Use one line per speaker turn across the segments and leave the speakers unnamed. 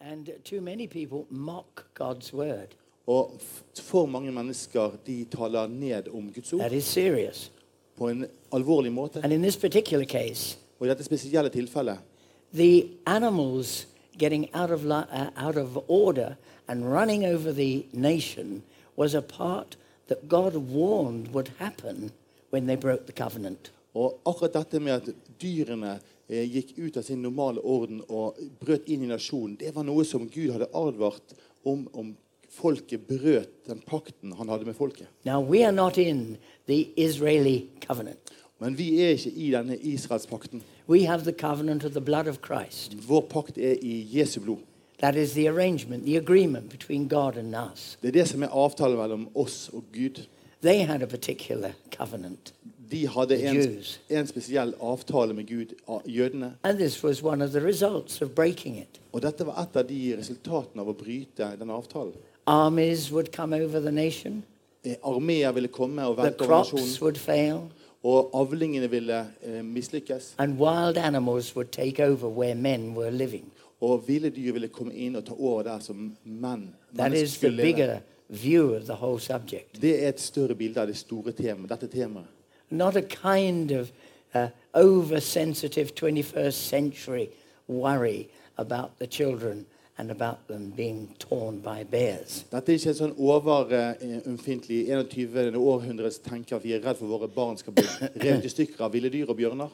And too many people mock God's word.
Og f- for mange mennesker de taler ned om Guds ord
That is serious.
på en alvorlig måte.
And in this particular case,
Og i dette spesielle tilfellet
the animals getting out of, li- uh, out of order and running over the nation was a part that God warned would happen when they broke the covenant.
Og akkurat dette med at dyrene eh, gikk ut av sin normale orden og brøt inn i nasjonen, det var noe som Gud hadde advart om om folket brøt den pakten han hadde med folket.
Now, we are not in the Israeli covenant.
Men vi er ikke i denne Israelspakten.
We have the covenant of the blood of Christ.
Vår pakt er i Jesu blod.
That is the arrangement, the agreement between God and us.
Det er det som er avtalen mellom oss og Gud.
They had a particular covenant.
De hadde en,
Jews.
en spesiell avtale med Gud, a- jødene.
And this was one of the results of breaking it.
Og dette var et av de resultatene av å bryte denne avtalen.
Armies would come over the nation,
Eh, Armeer ville komme og
the
velte over nasjonen.
crops would fail,
Og avlingene ville eh, mislykkes.
and wild animals would take over where men were living.
Og ville dyr ville komme inn og ta over der som menn.
That
mennesker
is the
skulle leve.
bigger view of the whole subject.
Det er et større bilde av det store temaet, dette temaet.
Not a kind of uh, oversensitive 21st century worry about the children and about them being torn by bears.
Dette er ikke en sånn eh, overømfintlig 21. århundres tenker at vi er redd for våre barn skal bli revet i stykker av ville dyr og bjørner.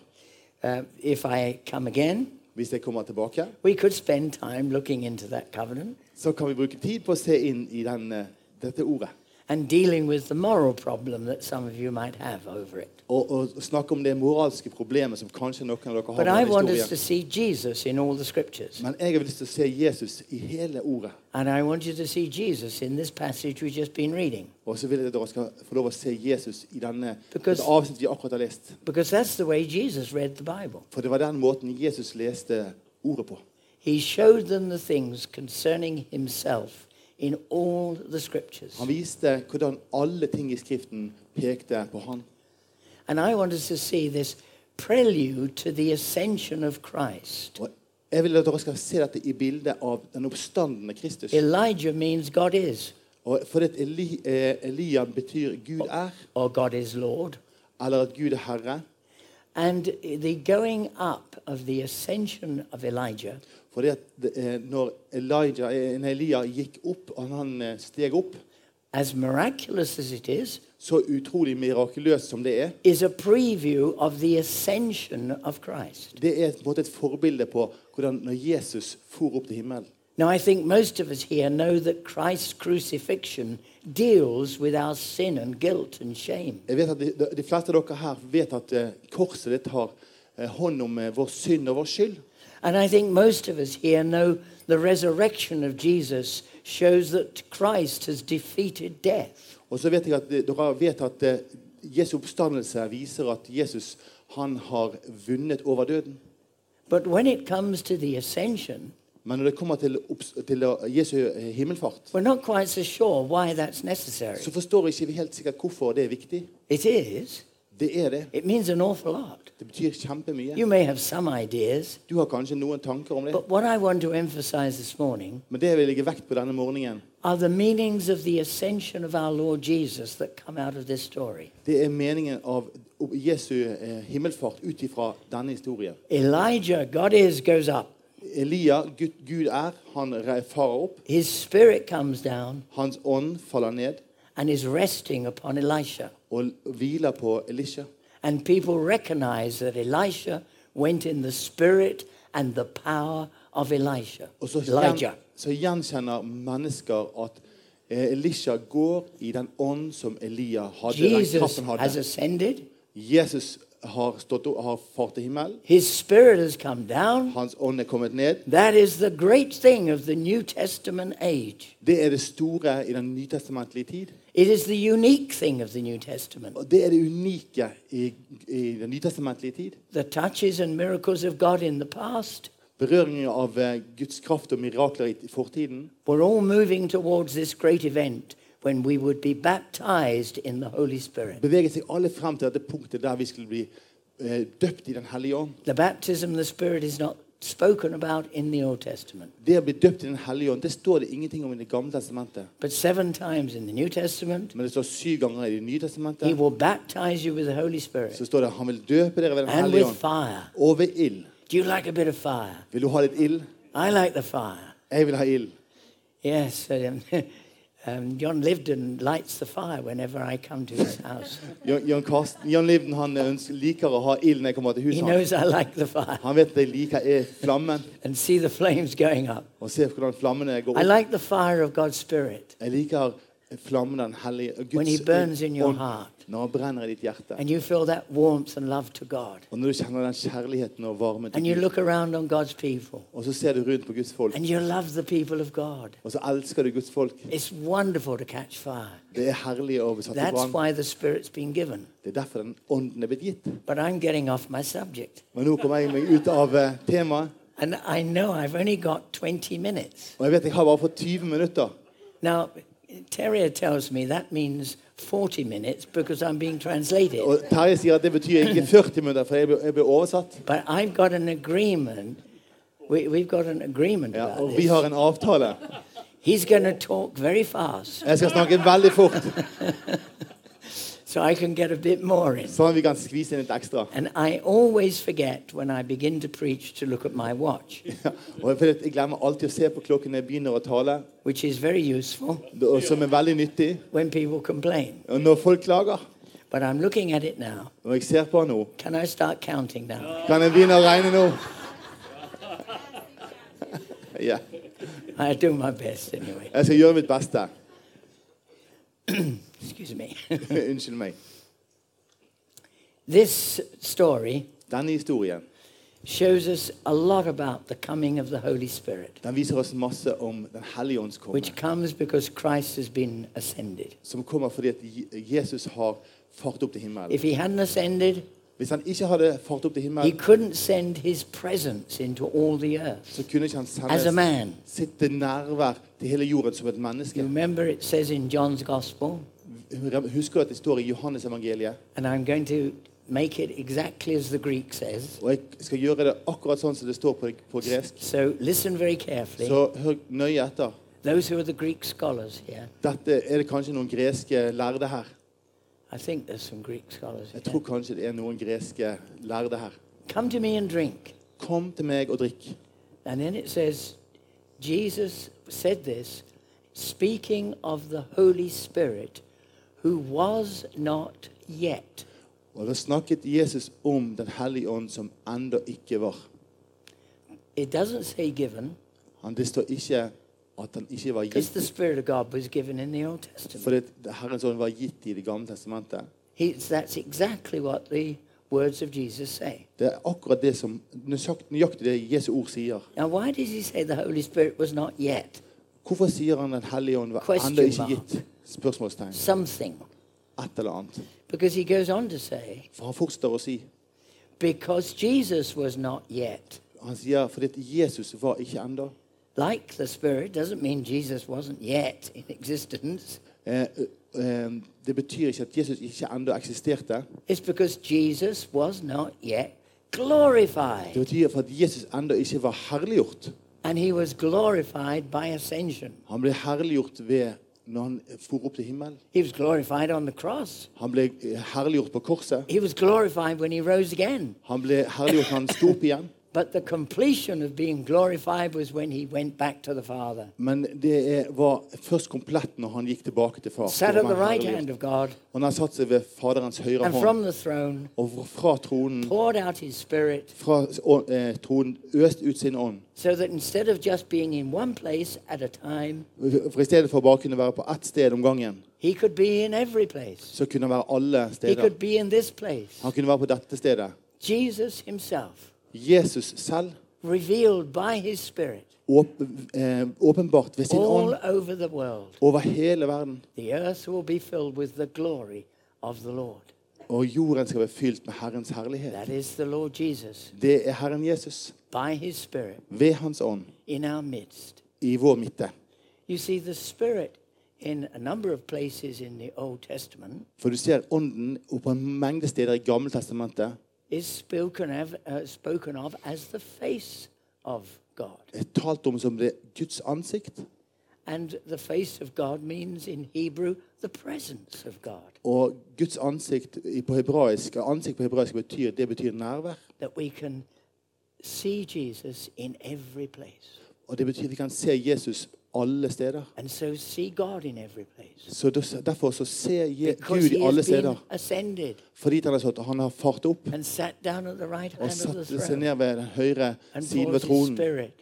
Uh, if I come again,
Hvis jeg kommer tilbake,
we could spend time looking into that covenant.
så kan vi bruke tid på å se inn i den, eh, dette ordet.
and dealing with the moral problem that some of you might have over it.
Og, og snakke om det moralske problemet som kanskje noen av dere har
But I
med
want us to
historien.
see Jesus in all the scriptures.
Men jeg har lyst til å se Jesus i hele ordet.
And I want you to see Jesus in this passage we've just been reading.
Og så vil jeg at dere skal få lov å se Jesus i denne
Because-
dette avsnittet vi akkurat har lest.
Because that's the way Jesus read the Bible.
For det var den måten Jesus leste ordet på.
He showed them the things concerning himself in all the scriptures.
Han viste hvordan alle ting i Skriften pekte på han.
And I want us to see this prelude to the ascension of Christ.
Og jeg vil at dere skal se dette i bildet av den oppstandende Kristus.
Elijah means God is,
Og for at Eli, eh, Elia betyr Gud er,
or God is Lord.
eller at Gud er Herre.
And the going up of the ascension of Elijah
Fordi at eh, når Elijah, eh, når Elia gikk opp, og han eh, steg opp,
as miraculous as it is,
så utrolig mirakuløst som det er,
is a preview of the ascension of Christ.
Det er på en måte et forbilde på hvordan når Jesus for opp til himmelen.
Now, I think most of us here know that Christ's crucifixion deals with our sin and guilt and shame.
Jeg vet at De, de fleste av dere her vet at eh, korset det tar eh, hånd om eh, vår synd og vår skyld.
And I think most of us here know the resurrection of Jesus shows that Christ has defeated death.
Og så vet jeg at de, dere vet at eh, Jesu oppstandelse viser at Jesus han har vunnet over døden.
But when it comes to the ascension,
Men når det kommer til, opps- til eh, Jesu eh, himmelfart,
we're not quite so sure why that's necessary.
så forstår ikke vi helt sikkert hvorfor det er viktig.
It is.
Det er det.
It means an awful lot.
Det betyr kjempemye.
You may have some ideas,
Du har kanskje noen tanker om det,
But what I want to emphasize this morning
men det vil jeg legge vekt på denne morgenen.
are the meanings of the ascension of our Lord Jesus that come out of this story.
Det er meningen av Jesu eh, himmelfart ut ifra denne historien.
Elijah, God is, goes up.
Elia, Gud, Gud er, han re- farer opp.
His spirit comes down
Hans ånd faller ned
and is resting upon Elisha.
og hviler på Elisha.
And people recognize that Elisha went in the spirit and the power of Elisha.
Og så,
Elijah.
så gjenkjenner mennesker at eh, Elisha går i den ånd som Elia hadde, den
Jesus
kroppen
has
hadde.
ascended.
Jesus har, stått, opp- har fart til himmelen.
His spirit has come down.
Hans ånd er kommet ned.
That is the great thing of the New Testament age.
Det er det store i den nytestamentlige tid.
It is the unique thing of the New Testament.
Og det er det unike i, i den nytestamentlige tid.
the touches and miracles of God in the past.
Berøringen av eh, Guds kraft og mirakler i fortiden.
We're all moving towards this great event when we would be baptized in the Holy Spirit.
Beveget seg alle frem til dette punktet der vi skulle bli eh, døpt i Den hellige ånd.
The baptism of the Spirit is not spoken about in the Old Testament.
Det å bli døpt i Den hellige ånd, det står det ingenting om i Det gamle testamentet.
But seven times in the New Testament,
Men det står syv ganger i Det nye
he
testamentet.
will baptize you with the Holy Spirit
Så står det han vil døpe dere ved Den
and
hellige
with
ånd.
fire.
Og ved ild.
Do you like a bit of fire?
Vil du ha litt ild?
I like the fire.
Jeg vil ha ild.
Yes. Um, um, John Livden lights the fire whenever I come to his house.
Jan, Jan, Karsten, Jan Livden han ønsker, liker å ha ild når jeg kommer til
He
huset hans.
knows I like the fire
Han vet at jeg liker eh, flammen,
and see the flames going up.
og ser hvordan flammene går
I
opp.
like the fire of God's Spirit
Jeg liker flammen den hellige og
when He
Guds
burns in your
ånd
heart
når han brenner i ditt hjerte.
and you feel that warmth and love to God.
Og når du kjenner den kjærligheten og varmen
And
til
you
Gud,
look around on God's people
og så ser du rundt på Guds folk,
and you love the people of God.
og så elsker du Guds folk.
It's wonderful to catch fire.
Det er herlig å bli satt i
That's
brann.
why the Spirit's been given.
Det er derfor den ånden er blitt gitt.
But I'm getting off my subject.
Men nå kommer jeg meg ut av eh, temaet,
And I know I've only got 20 minutes.
og jeg vet jeg har bare fått 20 minutter.
Now, Terrier tells me that means 40 minutes because I'm being translated.
Og Terje sier at det betyr ikke 40 minutter, for jeg ble, jeg ble oversatt.
But I've got an agreement. We, we've got an agreement
Ja,
about
og vi
this.
har en avtale.
He's going to talk very fast
Jeg skal snakke veldig fort,
so I can get a bit more in.
sånn at vi kan skvise inn litt ekstra.
And I always forget when I begin to preach to look at my watch,
Ja, og for Jeg glemmer alltid å se på klokken når jeg begynner å tale,
which is very useful
og som er veldig nyttig.
when people complain.
Og Når folk klager,
But I'm looking at it now.
når jeg ser på nå,
Can I start counting now?
kan jeg begynne å regne nå? Ja.
I do my best anyway.
Jeg skal gjøre mitt beste.
Excuse me.
Unnskyld meg.
this story
Denne historien
shows us a lot about the coming of the Holy Spirit,
den viser oss masse om Den hellige ånds komme,
which comes because Christ has been ascended.
som kommer fordi at Je- Jesus har fart opp til himmelen.
If he hadn't ascended,
Hvis han ikke hadde fart opp til
he
himmelen,
couldn't send his presence into all the earth.
så kunne ikke han
As a
sende
man,
sitt nærvær til hele jorden som et
you
menneske.
remember it says in John's Gospel, Mm.
Husker at det står i Johannes-evangeliet
and I'm going to make it exactly as the Greek says.
Og jeg skal gjøre det akkurat sånn som det står på, på gresk.
So listen very carefully.
Så hør nøye etter.
Those who are the Greek scholars here,
Dette er det kanskje noen greske lærde her.
I think there's some Greek scholars
Jeg
here.
tror kanskje det er noen greske lærde her.
Come to me and drink.
Kom til meg og drikk.
And then it says, Jesus said this, speaking of the Holy Spirit, who was not yet.
Og da snakket Jesus om Den hellige ånd som enda ikke var.
It doesn't say given,
Han, det står ikke at han ikke var
because the
gitt.
Spirit of God was given in the Old Testament.
For det, Herrens ånd var gitt i Det gamle testamentet.
He, that's exactly what the words of Jesus say.
Det er akkurat det som nøyaktig nøyaktig det Jesu ord sier.
Now, why does he say the Holy Spirit was not yet?
Hvorfor sier han Den hellige ånd var
Question
enda ikke
mark.
gitt? Spørsmålstegn.
Something.
Et eller annet.
Because he goes on to say,
For han fortsetter å si
because Jesus was not yet.
Han sier fordi at Jesus var ikke enda.
Like the Spirit doesn't mean Jesus wasn't yet in existence.
Eh, eh, det betyr ikke at Jesus ikke enda eksisterte.
It's because Jesus was not yet
Det
glorified.
betyr for at Jesus enda ikke var herliggjort.
And he was glorified by ascension.
Han ble herliggjort ved når han for opp til himmelen.
He was glorified on the cross.
Han ble eh, herliggjort på korset.
He was glorified when he rose again.
Han ble herliggjort når han sto opp igjen.
But the completion of being glorified was when he went back to the Father,
Men det er, var først komplett når han gikk tilbake til far.
sat
Da
at
var
the
han
right
herliggjort.
hand of God,
Og når han satte seg ved Faderens høyre
and
hånd,
from the throne
og fra tronen,
poured out his Spirit,
fra å- eh, tronen øst ut sin ånd.
so that instead of just being in one place at a time,
For i stedet for bare å kunne være på ett sted om gangen,
he could be in every place.
så kunne han være alle
He
steder.
could be in this place.
Han kunne være på dette stedet.
Jesus himself,
Jesus selv,
revealed by his Spirit,
åp eh, åpenbart ved sin
all
ånd
over the world,
over hele verden.
the earth will be filled with the glory of the Lord.
Og jorden skal være fylt med Herrens herlighet.
That is the Lord Jesus
Det er Herren Jesus
by his Spirit
ved Hans ånd
in our midst.
i vår midte.
You see, the Spirit in a number of places in the Old Testament
For du ser ånden og på en mengde steder i Gammeltestamentet
is spoken of, uh, spoken of as the face of God.
er talt om som det Guds ansikt.
And the face of God means in Hebrew the presence of God,
Og Guds ansikt i- på hebraisk, ansikt på hebraisk betyr, det betyr nærvær.
that we can see Jesus in every place.
Og det betyr vi kan se Jesus alle steder.
And so see God in every place.
Så des- Derfor så ser Je
Because
Gud
he
i alle
has been
steder.
ascended
Fordi han har, stått, han har fart opp
and sat down at the right
og
hand of the
satt seg
throne
ned ved den høyre
and
siden ved
pours his
tronen
spirit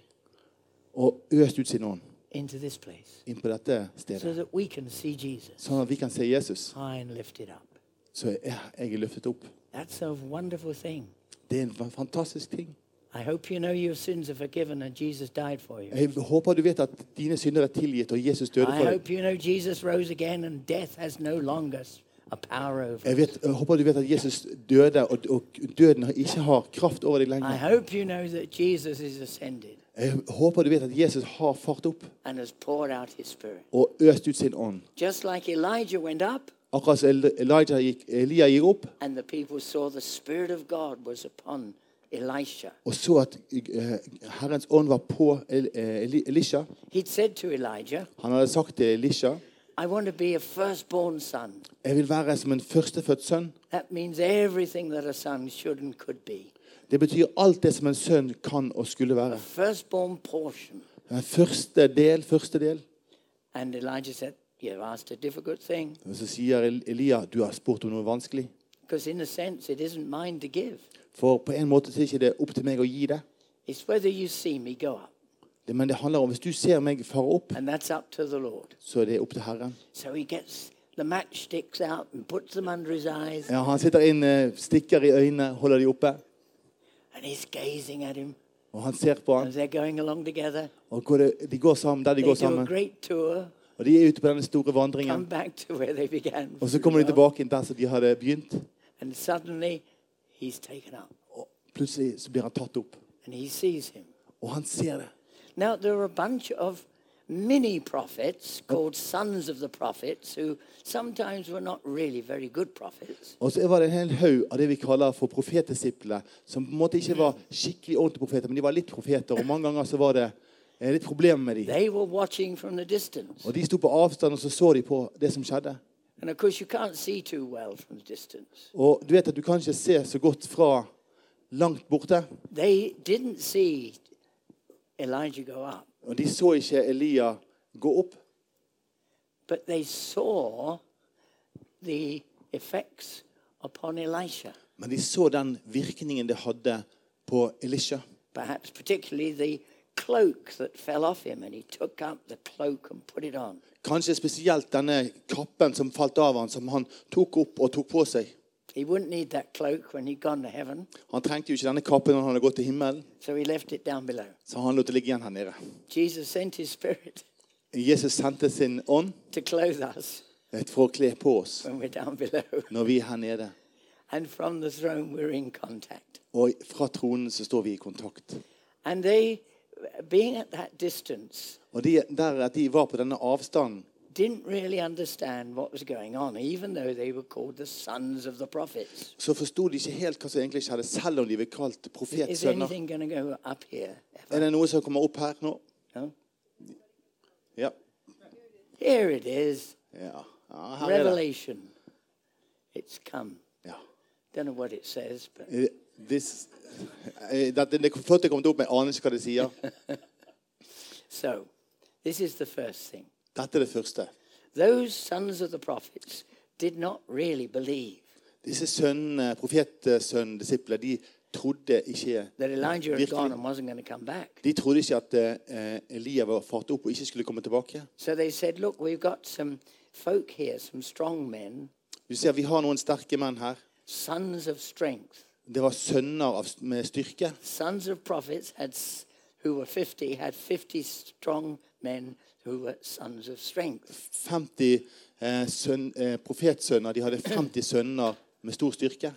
og øst ut sin ånd
into this place
inn på dette
so
stedet.
that we can see Jesus
Sånn at vi kan se Jesus.
high and lifted up.
Så er jeg er løftet opp.
That's a wonderful thing.
Det er en fa- fantastisk ting.
I hope you know your sins are forgiven and Jesus died for you.
Jeg håper du vet at dine synder er tilgitt, og Jesus døde
I
for deg.
hope you know Jesus rose again and death has no longer s- a power over
Jeg,
us.
vet, jeg håper du vet at Jesus døde, og, og døden har- ikke har kraft over deg
I
lenger.
hope you know that Jesus is ascended
Jeg håper du vet at Jesus har fart opp
and has poured out his spirit.
og øst ut sin ånd.
Just like Elijah went up
Akkurat som El- Elijah gikk, Elia gikk opp
and the people saw the spirit of God was upon Elisha.
og så at eh, Herrens ånd var på El, eh, Eli- Elisha.
He'd said to Elijah,
Han hadde sagt til Elisha
I want to be a firstborn son.
Jeg vil være som en førstefødt sønn.
That means everything that a son should and could be.
Det betyr alt det som en sønn kan og skulle være.
Firstborn portion.
Den første del, første del.
And Elijah said, You've asked a difficult thing
Og så sier El- Elia du har spurt om noe vanskelig.
because, in a sense, it isn't mine to give.
For på en måte så er ikke det opp til meg å gi det.
It's whether you see me go up.
Det- Men det handler om hvis du ser meg fare opp,
And that's up to the Lord.
så er det opp til Herren.
So he gets the matchsticks out and puts them under his eyes
Ja, han sitter inn, eh, stikker i øynene, holder de oppe,
and he's gazing at him
og han ser på
as
han.
they're going along together.
Og går det, de går sammen der de
They
går
do a
sammen.
great tour,
Og de er ute på denne store
come
vandringen.
back to where they began.
Og så kommer de tilbake inn der som de hadde begynt.
And suddenly he's taken up
Og plutselig så blir han tatt opp.
and he sees him.
Og han ser det.
Now, there are a bunch of mini prophets called sons of the prophets who sometimes were not really very good prophets.
Og så var det en hel haug av det vi kaller for profetdisiplene, som på en måte ikke var skikkelig ordentlige profeter, men de var litt profeter, og mange ganger så var det eh, litt problemer med de.
They were watching from the distance.
Og de sto på avstand, og så så de på det som skjedde.
And of course, you can't see too well from the distance.
Og du vet at du kan ikke se så godt fra langt borte.
They didn't see Elijah go up,
Og de så ikke Elia gå opp,
but they saw the effects upon Elisha,
men de så den virkningen det hadde på Elisha.
perhaps particularly the cloak that fell off him, and he took up the cloak and put it on.
Kanskje spesielt denne kappen som falt av han, som han tok opp og tok på seg.
He wouldn't need that cloak when he'd gone to heaven,
Han trengte jo ikke denne kappen når han hadde gått til himmelen,
so he left it down below.
så han lot det ligge igjen her nede.
Jesus sent his spirit
Jesus sendte sin ånd
to clothe us
for å kle på oss
when we're down below,
når vi er her nede.
and from the throne we're in contact.
Og fra tronen så står vi i kontakt.
And they, being at that distance,
Og de, der at de var på denne avstanden,
didn't really understand what was going on, even though they were called the sons of the prophets.
så forsto de ikke helt hva som egentlig skjedde, selv om de ble kalt
Is
profetsønner.
anything going to go up here? ever?
Er det noe som kommer opp her nå?
No?
Ja.
Here it is
Ja, ja her er det.
Revelation. It's come.
Ja.
Don't know what it says, but
Eh, This, eh, dette, det er flott det kom opp, men jeg aner ikke hva det sier.
so this is the first thing.
Dette er det første.
Those sons of the prophets did not really believe
Disse sønnene, profetsønnene, disipler, de trodde ikke
that Elijah had gone
virkelig,
and wasn't going to come back.
De trodde ikke at eh, Elia var fart opp og ikke skulle komme tilbake.
So they said, Look, we've got some folk here, some strong men,
Du ser, Vi har noen sterke menn her.
sons of strength.
Det var sønner av, med styrke.
sons of prophets had, s- who were 50 had 50 strong men who were sons of strength.
50 eh, sønn, eh, profetsønner. De hadde 50 sønner med stor styrke.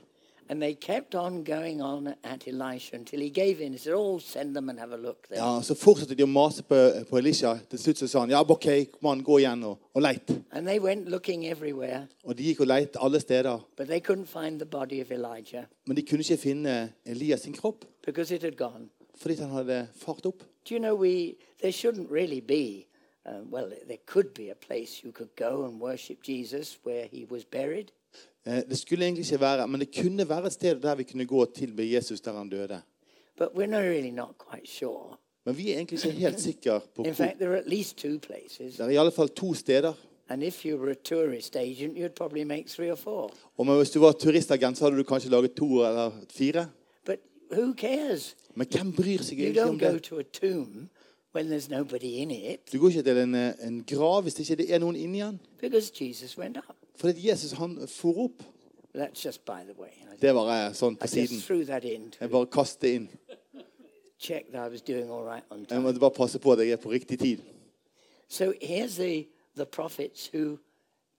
And they kept on going on at Elisha until he gave in. He said, Oh, send them and have a look there.
Ja, Så fortsatte de å mase på, på Elisha. Til slutt så sa han ja, OK, kom an, gå igjen og, og leit.
And they went looking everywhere,
Og de gikk og lette alle steder.
but they couldn't find the body of Elijah
Men de kunne ikke finne Elias sin kropp,
because it had gone.
fordi han hadde fart opp.
Do you know we there shouldn't really be uh, well there could be a place you could go and worship Jesus where he was buried
Eh, Det skulle egentlig ikke være, men det kunne være et sted der vi kunne gå og tilbe Jesus der han døde.
but we're not really not quite sure.
Men vi er egentlig ikke helt sikre på
In
hvor.
fact there are at least two places
Det er i alle fall to steder.
and if you were a tourist agent you'd probably make three or four.
Og men hvis du var turistagent, så hadde du kanskje laget to eller fire.
But who cares?
Men hvem bryr seg
You
egentlig
don't
om
go
det?
to a tomb when there's nobody in it
Du går ikke til en, eh, en grav hvis det ikke er noen inni den.
because Jesus went up.
Fordi at Jesus han for opp.
That's just by the way. I-
Det var jeg sånn
I
på siden.
just threw that in to
Jeg bare kastet inn.
check that I was doing all right on
Jeg
time.
måtte bare passe på at jeg er på riktig tid.
So here's the, the prophets who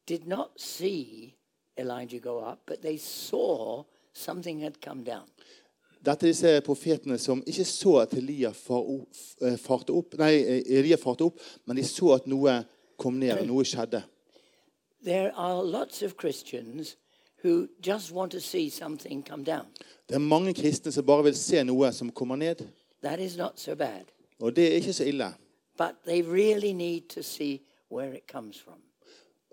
did not see Elijah go up, but they saw something had come down.
Dette er disse profetene som ikke så at Elia far opp, eh, farte opp, nei, eh, Elia farte opp, men de så at noe kom ned, og noe skjedde.
There are lots of Christians who just want to see something come down.
Det er mange kristne som bare vil se noe som kommer ned,
That is not so bad,
og det er ikke så ille.
but they really need to see where it comes from.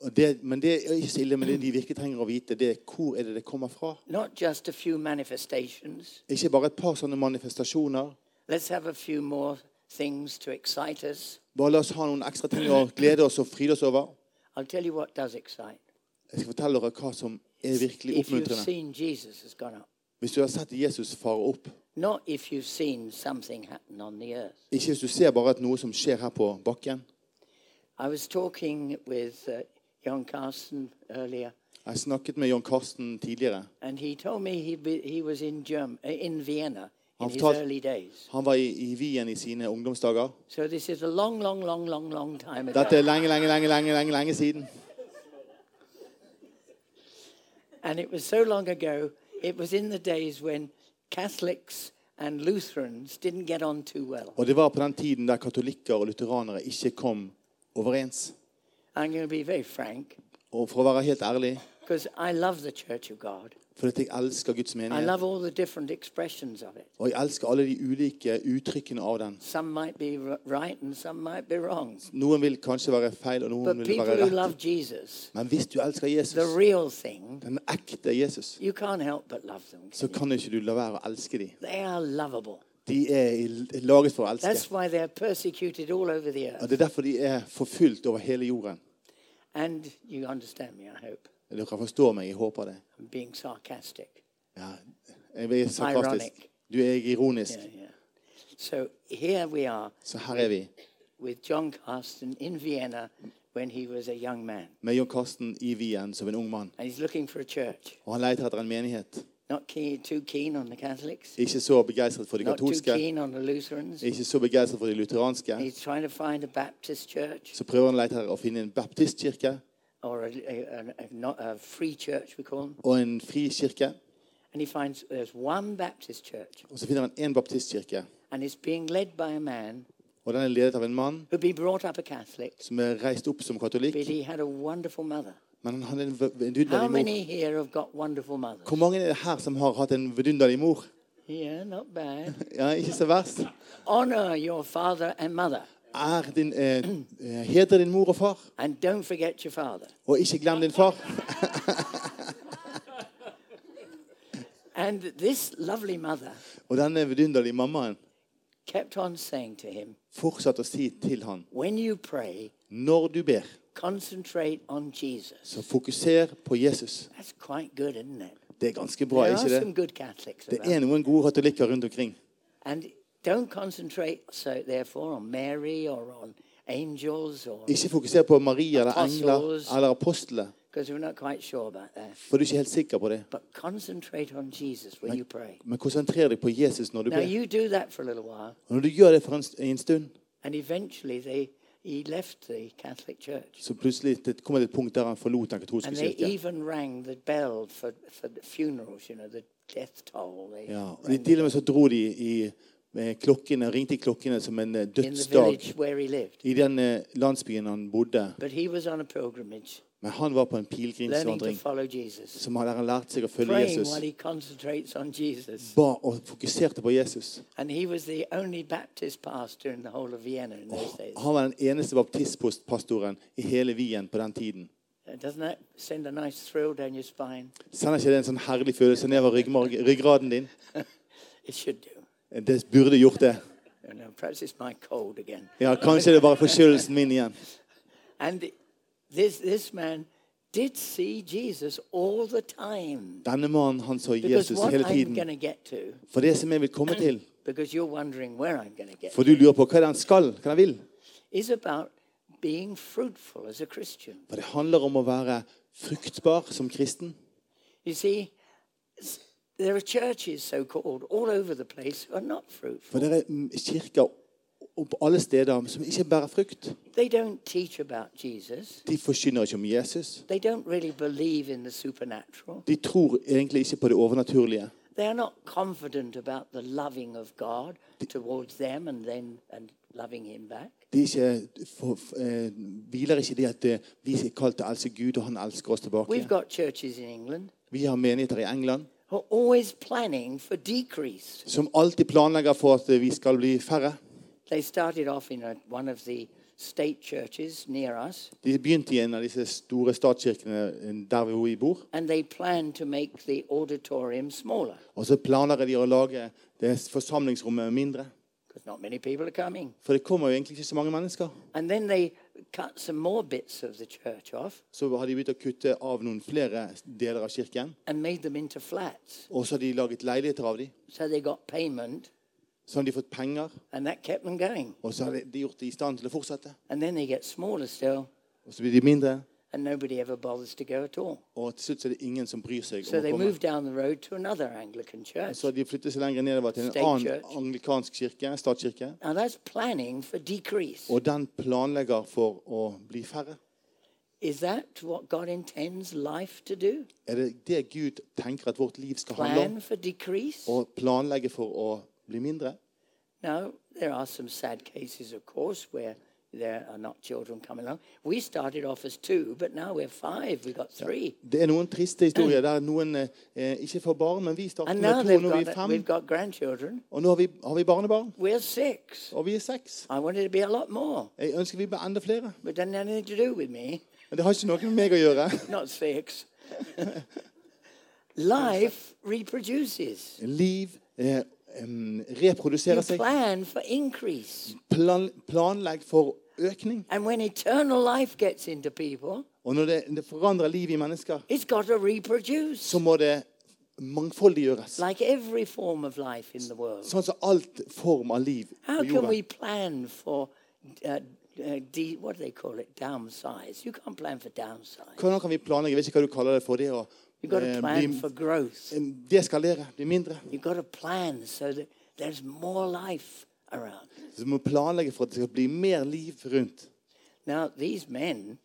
Og det, men det er ikke så ille, men det de virkelig trenger å vite, det er hvor er det det kommer fra.
Not just a few manifestations.
Ikke bare et par sånne manifestasjoner.
Let's have a few more things to excite us.
Bare la oss ha noen ekstra ting å glede oss og fryde oss over.
I'll tell you what does excite.
Jeg skal fortelle dere hva som er virkelig
If you've
oppmuntrende.
seen Jesus has gone up.
Hvis du har sett Jesus fare opp,
Not if you've seen something happen on the earth.
ikke hvis du ser bare at noe som skjer her på bakken.
I was talking with uh, Jon Carson earlier,
Jeg snakket med John Karsten tidligere.
and he told me he, be, he was in, Germ- uh, in Vienna in his
After-
early days.
Han var i, i Wien i sine ungdomsdager.
So this is a long, long, long, long, long time ago.
Dette er lenge, lenge, lenge, lenge, lenge, lenge siden.
And it was so long ago, it was in the days when Catholics and Lutherans didn't get on too well.
Og det var på den tiden der katolikker og lutheranere ikke kom overens.
I'm going to be very frank,
Og for å være helt ærlig,
because I love the Church of God.
fordi at jeg elsker Guds
I
menighet,
love all the different expressions of it.
og jeg elsker alle de ulike uttrykkene av den.
Some might be r- right and some might be wrong.
Noen vil kanskje være feil, og noen
But
vil
people
være
who
rett.
love Jesus,
Men hvis du elsker
the
Jesus,
real thing,
den ekte Jesus,
you can't help but love them.
så kan ikke du la være å elske dem.
They are lovable.
De er i- laget for å
That's
elske.
why they're persecuted all over the
Og
earth.
Det er derfor de er forfulgt over hele jorden.
And you understand me, I hope.
Dere forstår meg, jeg håper det.
I'm being sarcastic.
Ja, jeg er sarkastisk.
Ironic.
Du er ironisk.
Yeah, yeah. So here we are
Så her er vi
with John Carsten in Vienna when he was a young man.
med John Karsten i Wien som en ung mann.
And he's looking for a church.
Og han leter etter en menighet.
Not keen, too keen on the Catholics,
Ikke så begeistret for de
not too
katolske,
keen on the Lutherans.
ikke så begeistret for de lutheranske.
He's trying to find a Baptist church
Så prøver han å lete etter å finne en baptistkirke
or a, a, a, a, not, a free church, we call them.
og en frikirke.
And he finds there's one Baptist church,
Og så finner han én baptistkirke.
and it's being led by a man
Og den er ledet av en mann
who'd been brought up a Catholic,
som er reist opp som katolikk.
but he had a wonderful mother.
Men han hadde en v- en
How
vidunderlig mor.
many here have got wonderful mothers?
Hvor mange er det her som har hatt en vidunderlig mor?
Yeah, not bad.
Ja, ikke så verst.
Honor your father and mother,
Er din, eh, eh, heder din mor og far,
and don't forget your father.
og ikke glem din far.
And this lovely mother
Og denne vidunderlige mammaen
kept on saying to him,
fortsatte å si til han,
When you pray,
når du ber,
concentrate on Jesus.
så fokuser på Jesus.
That's quite good, isn't it?
Det er ganske bra,
There are
ikke
some
det?
good Catholics
Det
about.
er noen gode katolikker rundt omkring.
And don't concentrate, so therefore, on Mary or on angels or
Ikke fokuser på Maria eller engler
Apostles.
eller apostlene,
because we're not quite sure about that.
for du er ikke helt sikker på det.
But concentrate on Jesus when you pray.
Men konsentrer deg på Jesus når du
Now
ber.
you do that for a little while,
Og når du gjør det for en, st- en stund,
and eventually they he left the Catholic Church,
så plutselig det kommer det et punkt der han forlot den katolske
and they
kirke.
even rang the bell for for the funerals. You know, the death toll. They
Ja, og de,
rang
til og med så dro de i eh, klokkene, ringte i klokkene som en eh,
in the
dødsdag
village where he lived.
i den eh, landsbyen han bodde.
But he was on a pilgrimage,
Men han var på en
learning to
pilegrimsvandring
follow Jesus,
som hadde lært seg å følge
praying
Jesus.
while he concentrates on Jesus.
Ba og fokuserte på Jesus.
And he was the only Baptist pastor in the whole of Vienna in those days.
Han var den eneste baptistpastoren i hele Wien på den tiden.
Uh, Doesn't that send a nice thrill down your spine?
Sender ikke det en sånn herlig følelse nedover ryggmarg- ryggraden din?
It should do.
Det burde gjort det.
I don't know, perhaps it's my cold again.
Ja, Kanskje det er bare forkjølelsen min igjen.
And this, this man did see Jesus all the time.
Denne mannen han så
Because
Jesus
what
hele
I'm
tiden.
going to get to,
For det som jeg vil komme til,
because you're wondering where I'm going to get,
for du lurer på hva er det han skal, hva er det han vil.
is about being fruitful as a Christian.
For det handler om å være fruktbar som kristen.
You see, s- there are churches, so called, all over the place who are not fruitful.
For det er mm, kirker og på alle steder som ikke bærer frukt.
They don't teach about Jesus.
De forkynner ikke om Jesus.
They don't really believe in the supernatural.
De tror egentlig ikke på det overnaturlige.
They are not confident about the loving of God towards them and then and loving Him back.
De er ikke, for, f- eh, hviler ikke i det at eh, vi er kalt til å elske Gud, og han elsker oss
We've
tilbake.
got churches in England
Vi har menigheter i England
who are always planning for decrease.
som alltid planlegger for at eh, vi skal bli færre.
They started off in a, one of the state churches near us,
De begynte i en av disse store statskirkene eh, der hvor vi bor.
and they planned to make the auditorium smaller
Og så planlegger de å lage det forsamlingsrommet mindre.
because not many people are coming.
For det kommer jo egentlig ikke så mange mennesker.
And then they cut some more bits of the church off
Så har de begynt å kutte av noen flere deler av kirken.
and made them into flats.
Og så har de laget leiligheter av dem.
So they got payment,
Så har de fått penger,
and that kept them going.
og så har de gjort det i stand til å fortsette.
And then they get smaller still,
Og så blir de mindre,
and nobody ever bothers to go at all.
og til slutt så er det ingen som bryr seg
So
om å
they
komme.
moved down the road to another Anglican church.
Så har de flyttet seg lenger nedover til en
State
annen
church.
anglikansk kirke, statskirke.
Now that's planning for decrease.
Og den planlegger for å bli færre.
Is that what God intends life to do?
Er det det Gud tenker at vårt liv skal handle om?
Plan for decrease?
Å planlegge for å bli mindre?
No, there are some sad cases, of course, where there are not children coming along. We started off as two, but now we're five. We've got three.
Det er noen triste historier der noen eh, ikke får barn, men vi starter
And
med
now
to,
they've
nå er vi
got,
fem.
we've got grandchildren.
Og nå har vi, har vi barnebarn,
We're six.
og vi er seks.
I wanted to be a lot more,
Jeg ønsker vi ble enda flere.
but it doesn't have anything to do with me.
Men det har ikke noe med meg å gjøre.
Not six. Life reproduces.
Liv eh, em,
You
reproduserer seg.
plan for increase.
Plan, planlegg for økning.
And when eternal life gets into people,
Og når det, det forandrer livet i mennesker,
it's got to reproduce.
så må det mangfoldiggjøres.
Like every form of life in the world.
Sånn som alt form av liv
How
på
can
jorda.
we plan for uh, uh, de, what do they call it? Downsize. You can't plan for downsize.
Hvordan kan vi planlegge? Jeg vet ikke hva du kaller det for det å
You've got
eh,
to plan for
bli, eh,
growth.
em, deskalere, bli mindre.
You've got to plan so that there's more life around.
Så du må planlegge for at det skal bli mer liv rundt.
Now, these men,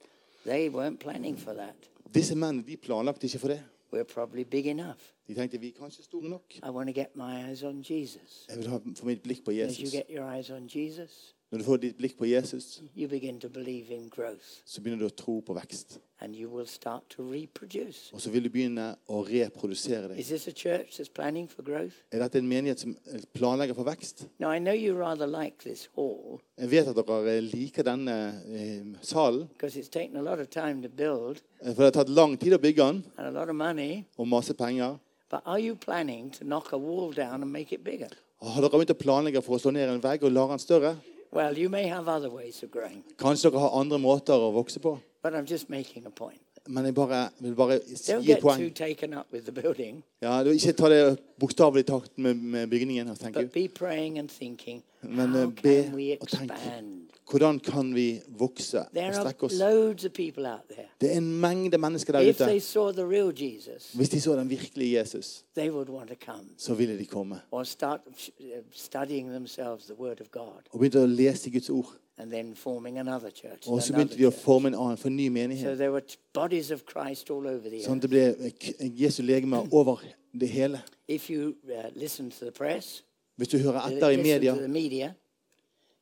they weren't planning for that.
Disse mennene de planlagte ikke for det.
We're probably big enough.
De tenkte vi er kanskje store nok.
I want to get my eyes on Jesus.
Jeg vil ha, få mitt blikk på
As you
Jesus.
get your eyes on Jesus,
Når du får ditt blikk på Jesus,
you begin to believe in growth
så begynner du å tro på vekst.
and you will start to reproduce.
Og så vil du begynne å reprodusere deg.
Is this a church that's planning for growth?
Er dette en menighet som planlegger for vekst?
Now, I know you rather like this hall
Jeg vet at dere liker denne eh, salen.
because it's taken a lot of time to build
eh, For det har tatt lang tid å bygge den,
and a lot of money,
og masse penger.
but are you planning to knock a wall down and make it bigger?
Har dere begynt å planlegge for å slå ned en vegg og lage den større?
Well, you may have other ways of growing,
Kanskje dere har andre måter å vokse på?
but I'm just making a point.
Men jeg bare, vil bare si
Don't
et
get
poeng.
too taken up with the building,
Ja, du, ikke ta det bokstavelig i takt med, med bygningen. her,
but
tenker jeg.
be praying and thinking,
Men eh,
how can we
be og tenk.
expand?
Hvordan kan vi vokse og
There are
strekke oss?
loads of people out there.
Det er en mengde mennesker der
If
ute.
they saw the real Jesus,
Hvis de så den virkelige Jesus,
they would want to come
så ville de komme.
or start uh, studying themselves the Word of God
Og begynte å lese Guds ord.
and then forming another church. and
Og så
another
begynte de å
church.
forme en annen, for en ny
So
menighet.
there were t- bodies of Christ all over the
Sånn
earth.
at det ble eh, k- Jesu legeme over det hele.
If you uh, listen to the press,
Hvis du hører
uh,
etter i
listen
media,
to the media,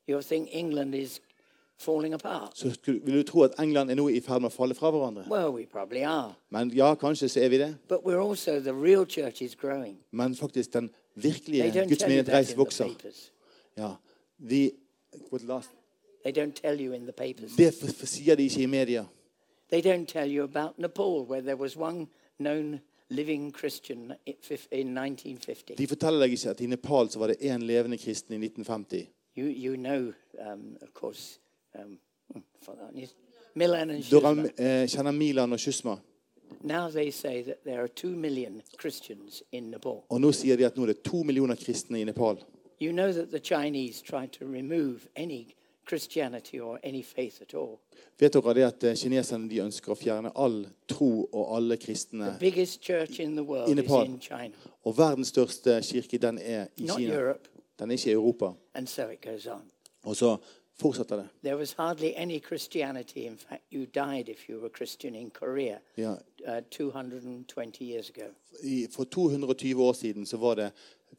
you'll think England is falling apart.
så skulle, vil du tro at England er nå i ferd med å falle fra hverandre.
Well, we probably are.
Men ja, kanskje så er vi det.
But we're also, the real church is growing.
Men faktisk, den
They
virkelige
don't
Guds
tell you
menighet
that
reis
in the
vokser.
papers.
Ja, de, what last,
They don't tell you in the papers.
det f- f- sier de ikke i media.
They don't tell you about Nepal, where there was one known living Christian in fif- in 1950.
De forteller deg ikke at i Nepal så var det én levende kristen i 1950.
You, you know, um, of course, um, hmm, forgotten his- Milan and
Dere
Shusma.
eh, kjenner Milan og Shusma,
Now they say that there are two million Christians in Nepal.
og nå sier de at nå er det to millioner kristne i Nepal.
You know that the Chinese tried to remove any Christianity or any faith at all.
Vet dere det at eh, kineserne de ønsker å fjerne all tro og alle kristne?
Biggest church in the world
In
is
Nepal.
in China,
Og verdens største kirke, den er i
not
Kina.
Europe,
Den er ikke i Europa.
and so it goes on.
Og så fortsetter det.
There was hardly any Christianity. In fact, you died if you were Christian in Korea
Ja,
uh, 220 years ago.
i, for 220 år siden så var det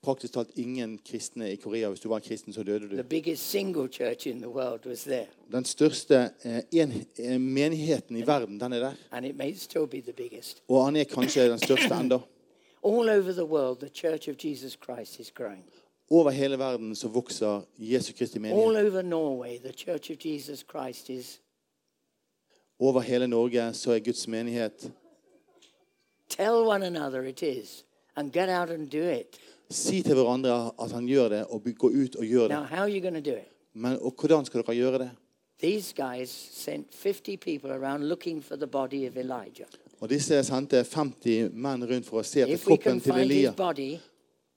praktisk talt ingen kristne i Korea. Hvis du var kristen, så døde du.
The biggest single church in the world was there,
Den største eh, en, eh, menigheten i verden, den er der.
and it may still be the biggest.
Og han er kanskje den største enda.
All over the world, the Church of Jesus Christ is growing.
Over hele verden så vokser Jesu Kristi
All
menighet.
over Norway, the Church of Jesus Christ is.
Over hele Norge så er Guds menighet.
Tell one another it is, and get out and do it.
Si til hverandre at han gjør det, og gå ut og gjør det.
Now, how are you going to do it?
Men og hvordan skal dere gjøre det?
These guys sent 50 people around looking for the body of Elijah.
Og disse sendte 50 menn rundt for å se etter
If we
kroppen
can
til
find his
Elia.
body,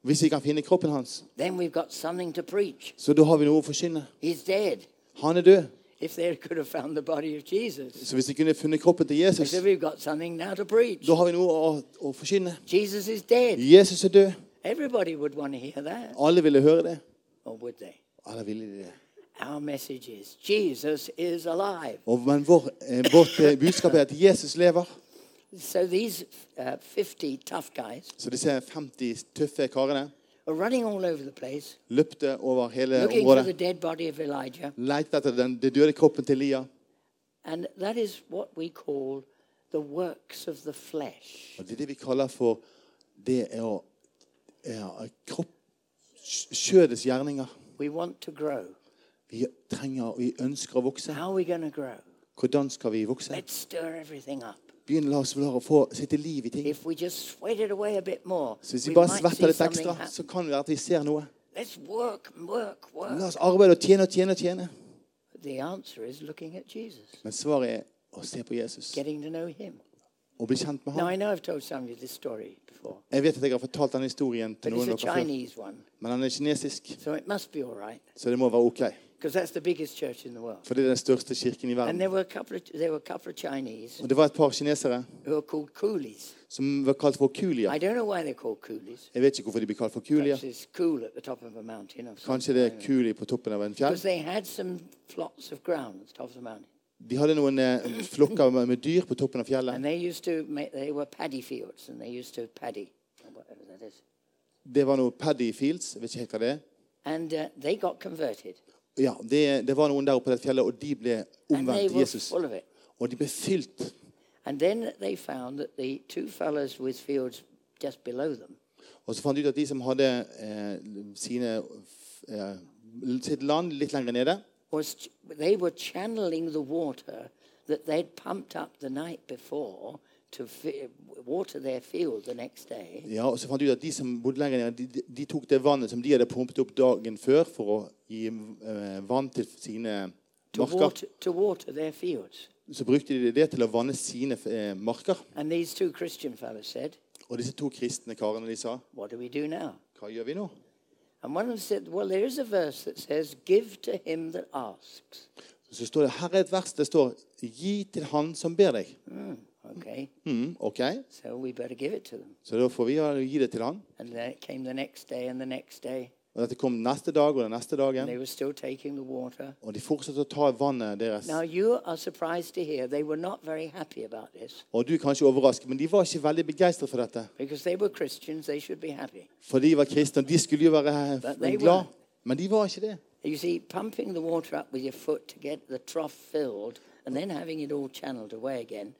Hvis vi kan finne kroppen hans,
then we've got something to preach.
så da har vi noe å forkynne.
He's dead.
Han er død.
If they could have found the body of Jesus,
Så hvis vi kunne funnet kroppen til
they
Jesus,
said, We've got something now to preach.
da har vi noe å, å forkynne.
Jesus is dead.
Jesus er død.
Everybody would want to hear that,
Alle ville høre det.
or would they?
Alle ville de det.
Our message is Jesus is alive.
Og, men vår, eh, vårt eh, budskap er at Jesus lever.
So these uh, 50 tough guys
Så disse 50 tøffe karene
are running all over the place
løpte over hele
looking for the
området.
dead body of Elijah.
Lette etter den, den døde kroppen til Elia.
And that is what we call the works of the flesh.
Og det er det vi kaller for det er å er kropp, kjødets gjerninger.
We want to grow.
Vi trenger, vi ønsker å vokse.
How are we going to grow?
Hvordan skal vi vokse?
Let's stir everything up.
Begynn la oss la å få sitte liv i ting.
If we just sweat it away a bit more,
Så hvis
we
vi bare
might
svetter
see
litt
something
ekstra,
happen.
så kan det være at vi ser noe.
Let's work, work,
La
work.
oss arbeide og tjene og tjene og tjene.
The answer is looking at Jesus,
Men svaret er å se på Jesus
getting to know him.
og bli kjent med
Now,
ham.
I know I've told some of you this story before,
Jeg vet at jeg har fortalt denne historien
but
til
it's
noen
a
av dere før,
Chinese one,
men den er kinesisk,
so it must be all right,
så det må være ok.
because that's the biggest church in the world.
For det er den største kirken i
And
verden.
there were a couple of, there were a couple of Chinese
Og det var et par kinesere
who are called coolies.
som var kalt for kulia.
I don't know why they're called coolies.
Jeg vet ikke hvorfor de blir kalt for kulia.
Perhaps it's cool at the top of a mountain. Or something.
Kanskje det er kuli på toppen av en fjell.
Because they had some plots of ground at the top of the mountain.
De hadde noen eh, flokker med med dyr på toppen av fjellet.
And they used to make, they were paddy fields and they used to paddy, or whatever that is.
Det var noe paddy fields, jeg vet ikke helt hva det er.
And uh, they got converted.
Ja, det, det var noen der oppe på det fjellet, og de ble
And they
omvendt til
were
Jesus.
full of it.
Og de ble fylt.
And then they found that the two fellows with fields just below them,
Og så fant de ut at de som hadde eh, sine, f- eh, sitt land litt lenger nede,
was ch- they were channeling the water that they'd pumped up the night before to fi- water their field the next day.
ja, og så fant de ut at de som bodde lenger nede, de, de- de tok det vannet som de hadde pumpet opp dagen før for å gi eh, vann til sine
To
marker.
water, to water their fields.
Så brukte de det til å vanne sine eh, marker.
And these two Christian fellows said,
Og disse to kristne karene de sa,
What do we do now?
hva gjør vi nå?
And one of them said, Well, there is a verse that says, Give to him that asks.
Så står det, her er et vers, det står, gi til han som ber deg.
Okay,
Mm, ok,
so we better give it to them.
så da får vi ja, gi det til han.
And then it came the next day and the next day,
Og dette kom neste dag og den neste dagen.
and they were still taking the water.
Og de fortsatte å ta vannet deres.
Now, you are surprised to hear they were not very happy about this
Og du er kanskje overrasket, men de var ikke veldig begeistret for dette.
because they were Christians, they should be happy.
For de var kristne, og de skulle jo være
But they
glad. Men de var ikke det.
You see, pumping the water up with your foot to get the trough filled and then having it all channeled away again,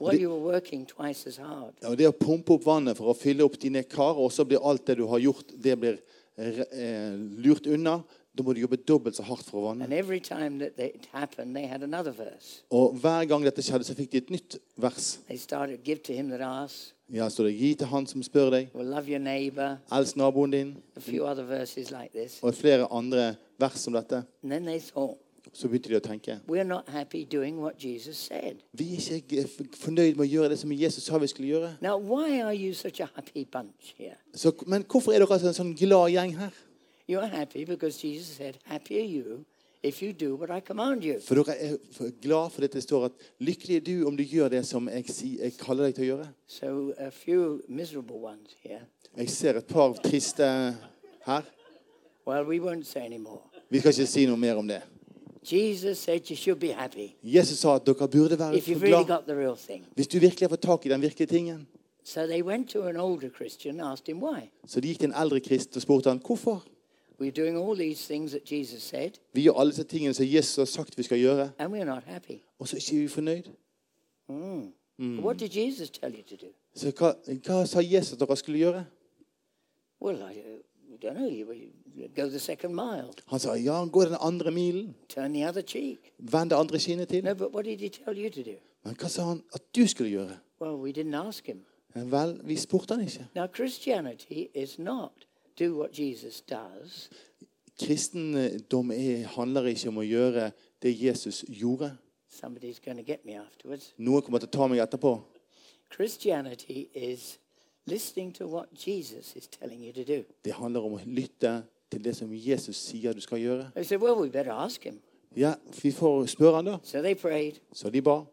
well,
The-
you were working twice as hard.
Ja, og det å pumpe opp vannet for å fylle opp dine kar, og så blir alt det du har gjort, det blir eh, eh, lurt unna. Da må du jobbe dobbelt så hardt for å vanne.
And every time that they- it happened, they had another verse.
Og hver gang dette skjedde, så fikk de et nytt vers.
They started, Give to him that asks,
Ja, står det, Gi til han som spør deg,
well, love your neighbor,
elsk naboen din,
a few other verses like this.
og flere andre vers som dette.
And then they thought,
Så begynte de å tenke.
We're not happy doing what Jesus said.
Vi er ikke eh, f- fornøyd med å gjøre det som Jesus sa vi skulle gjøre.
Now, why are you such a happy bunch here?
Så, men hvorfor er dere altså en sånn glad gjeng her?
You're happy because Jesus said, Happy are you if you do what I command you.
For dere er for glad for det står at 'lykkelig er du om du gjør det som jeg, si, jeg kaller deg til å gjøre'.
So, a few miserable ones here.
Jeg ser et par triste her.
Well, we won't say any more.
Vi skal ikke si noe mer om det.
Jesus said you should be happy
Jesus sa at dere burde være
if
for
you've really
glad
got the real thing.
hvis du virkelig har fått tak i den virkelige tingen.
So they went to an older Christian and asked him why.
Så de gikk til en eldre krist og spurte han, hvorfor.
We're doing all these things that Jesus said,
Vi gjør alle disse tingene som Jesus har sagt vi skal gjøre,
and we're not happy.
og så er ikke vi fornøyd.
What did Jesus tell you to do?
Så hva, hva sa Jesus at dere skulle gjøre?
Well, I uh, don't know. You, you go the second mile,
Han sa ja, gå den andre milen.
turn the other cheek.
Vend det andre kinnet til.
No, but what did he tell you to do?
Men hva sa han at du skulle gjøre?
Well, we didn't ask him.
Ja, Vel, vi spurte han ikke.
Now, Christianity is not do what Jesus does,
Kristendom er, handler ikke om å gjøre det Jesus gjorde.
somebody's going to get me afterwards.
Noen kommer til å ta meg etterpå.
Christianity is listening to what Jesus is telling you to do.
Det handler om å lytte til det som Jesus sier du skal gjøre.
They said, Well, we better ask him.
Ja, Vi får spørre han da.
So they prayed,
Så de ba.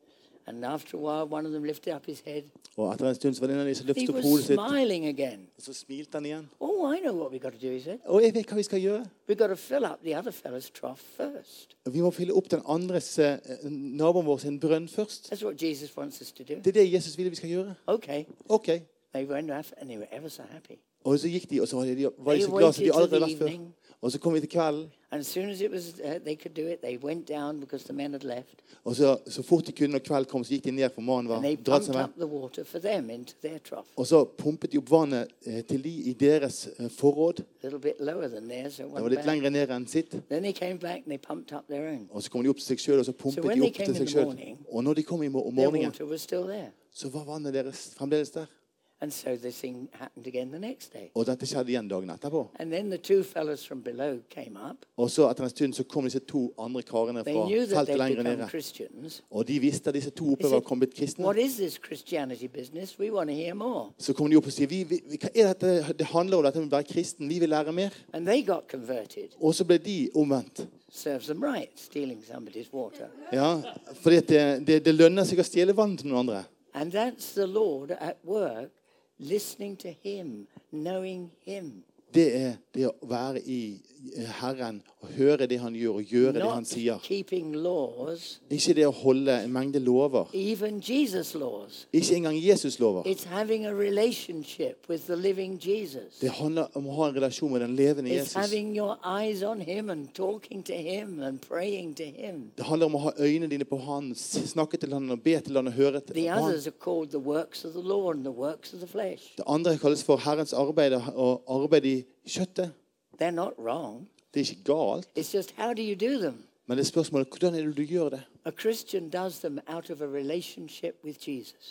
and after a while, one of them lifted up his head.
Og etter en stund så var det en av de som
He
løftet opp hodet
was
sitt.
smiling again.
Og så smilte han igjen.
Oh, I know what we've got to do, he said.
Og jeg vet hva vi skal gjøre.
We've got to fill up the other fellow's trough first.
Vi må fylle opp den andres eh, naboen vår sin brønn først.
That's what Jesus wants us to do.
Det er det Jesus ville vi skal gjøre.
Okay.
Ok.
They went off, and they were ever so happy.
Og så gikk de, og så var de, var de
They
så glad som
waited till
de aldri hadde
the
vært før.
evening.
Og så kom vi til kvelden,
And as soon as it was, uh, they could do it, they went down because the men had left.
og så, så fort de kunne når kvelden kom, så gikk de ned for mannen var
And they
dratt
pumped
seg
up
med.
the water for them into their trough.
Og så pumpet de opp vannet eh, til de i deres eh, forråd.
A little bit lower than theirs. So
Det var litt lengre ned enn sitt.
Then they came back and they pumped up their own.
Og så kom de opp til seg sjøl, og så pumpet
So when
de
they
opp
came
til
in
seg
the
sjøl.
morning,
Og når de kom i mor- om
Their
morgenen,
water was still there.
så var vannet deres fremdeles der.
And so this thing happened again the next day.
Og dette skjedde igjen dagen etterpå.
And then the two fellows from below came up.
Og så etter en stund så kom disse to andre karene
They
fra
knew that
feltet
they'd
lenger
become
nede.
Christians.
Og de visste at disse to
They
oppe var
said,
kommet kristne.
What is this Christianity business? We want to hear more.
Så kom de opp og sier vi, vi, vi, hva er dette? det handler om dette med å være kristen. Vi vil lære mer.
And they got converted.
Og så ble de omvendt.
Serves them right, stealing somebody's water.
Ja, fordi at det, det, det lønner seg å stjele vann til noen andre.
And that's the Lord at work, listening to Him, knowing Him,
Det er det å være i Herren og høre det han gjør, og gjøre det han
not
sier.
keeping laws,
Ikke det å holde en mengde lover.
even Jesus' laws.
Ikke engang Jesus lover.
It's having a relationship with the living Jesus.
Det handler om å ha en relasjon med den levende
It's
Jesus.
having your eyes on Him and talking to Him and praying to Him.
Det handler om å ha øynene dine på han, s- snakke til han og be til han og høre til
The
han.
others are called the works of the law and the works of the flesh.
Det andre kalles for Herrens arbeid og arbeid i kjøttet.
They're not wrong.
Det er ikke galt.
It's just how do you do them?
Men det er spørsmålet hvordan er det du gjør det?
A Christian does them out of a relationship with Jesus.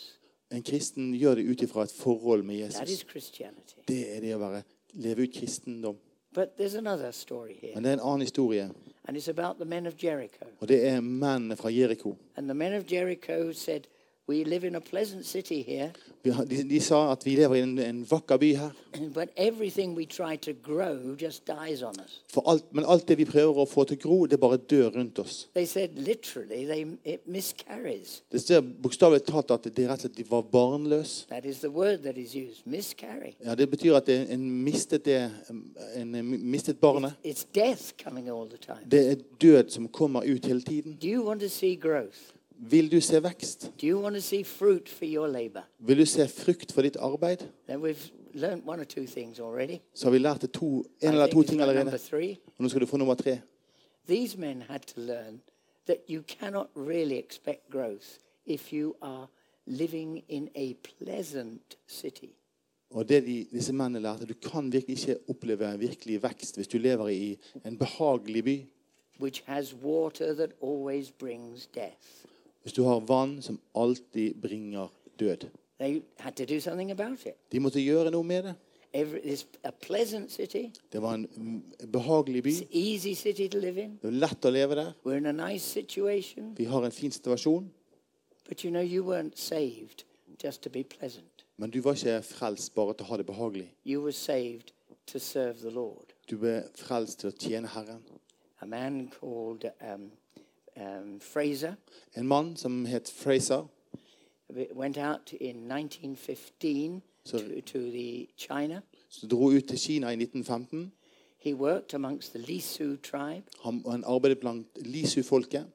En kristen gjør det ut ifra et forhold med
That is
Jesus.
Christianity.
Det er det å være, leve ut kristendom.
But there's another story here,
Men det er en annen historie,
and it's about the men of Jericho.
og det er mennene fra Jeriko.
And the men of Jericho said, We live in a pleasant city here,
Vi har- De, de sa at vi lever i en, en vakker by her,
but everything we try to grow just dies on us.
for alt, men alt det vi prøver å få til gro, det bare dør rundt oss.
They said literally they, it miscarries.
Det står bokstavelig talt at det er rett og slett de var barnløse.
That is the word that is used, miscarry.
Ja, det betyr at en, en mistet det En mistet barnet.
It's death coming all the time.
Det er død som kommer ut hele tiden.
Do you want to see growth?
Vil du se vekst?
Do you want to see fruit for your labor?
Vil du se frukt for ditt arbeid?
Now we've learnt one or two things already.
så har vi lært det to,
I
en eller
think
to
it's
ting
about
allerede.
number three.
Og nå skal du få nummer tre.
these men had to learn that you cannot really expect growth if you are living in a pleasant city.
Og det de, disse mennene lærte, Du kan virkelig ikke oppleve virkelig vekst hvis du lever i en behagelig by.
which has water that always brings death.
Hvis du har vann som alltid bringer død.
They had to do something about it.
De måtte gjøre noe med det.
Every, it's a pleasant city,
Det var en mm, behagelig by.
it's an easy city to live in.
Det var lett å leve der.
We're in a nice situation,
Vi har en fin situasjon,
but you know, you weren't saved just to be pleasant.
men du var ikke frelst bare til å ha det behagelig.
You were saved to serve the Lord.
Du ble frelst til å tjene Herren.
A man called um, um, Fraser
En mann som het Fraser,
went out in 1915
So-
to, to the China.
som dro ut til Kina i 1915.
He worked amongst the Lisu tribe.
Han, han arbeidet blant lisu-folket.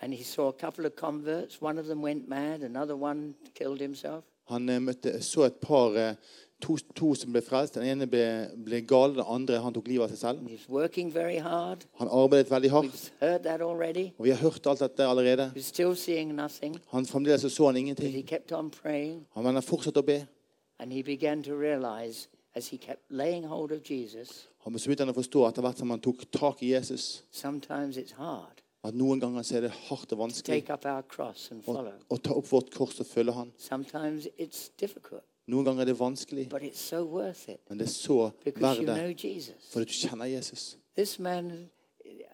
And he saw a couple of converts. One of them went mad, another one killed himself.
Han eh, møtte, så et par eh, to, to som ble frelst. Den ene ble, ble gal, den andre han tok livet av seg selv.
And He's working very hard.
Han arbeidet veldig hardt,
We've heard that already.
og vi har hørt alt dette allerede.
He's still seeing nothing,
Han Fremdeles så, så han
but
ingenting.
he kept on praying.
Han, men han fortsatte å be.
And he began to realize, as he kept laying hold of Jesus,
Han så begynte han å forstå etter hvert som han tok tak i Jesus,
sometimes it's hard
at noen ganger så er det hardt og
to
vanskelig
take up our cross and
å,
follow.
å ta opp vårt kors og følge han.
Sometimes it's difficult,
Noen ganger er det vanskelig,
but it's so worth it
men det er så
because you
verdt det
know Jesus.
fordi du kjenner Jesus.
This man,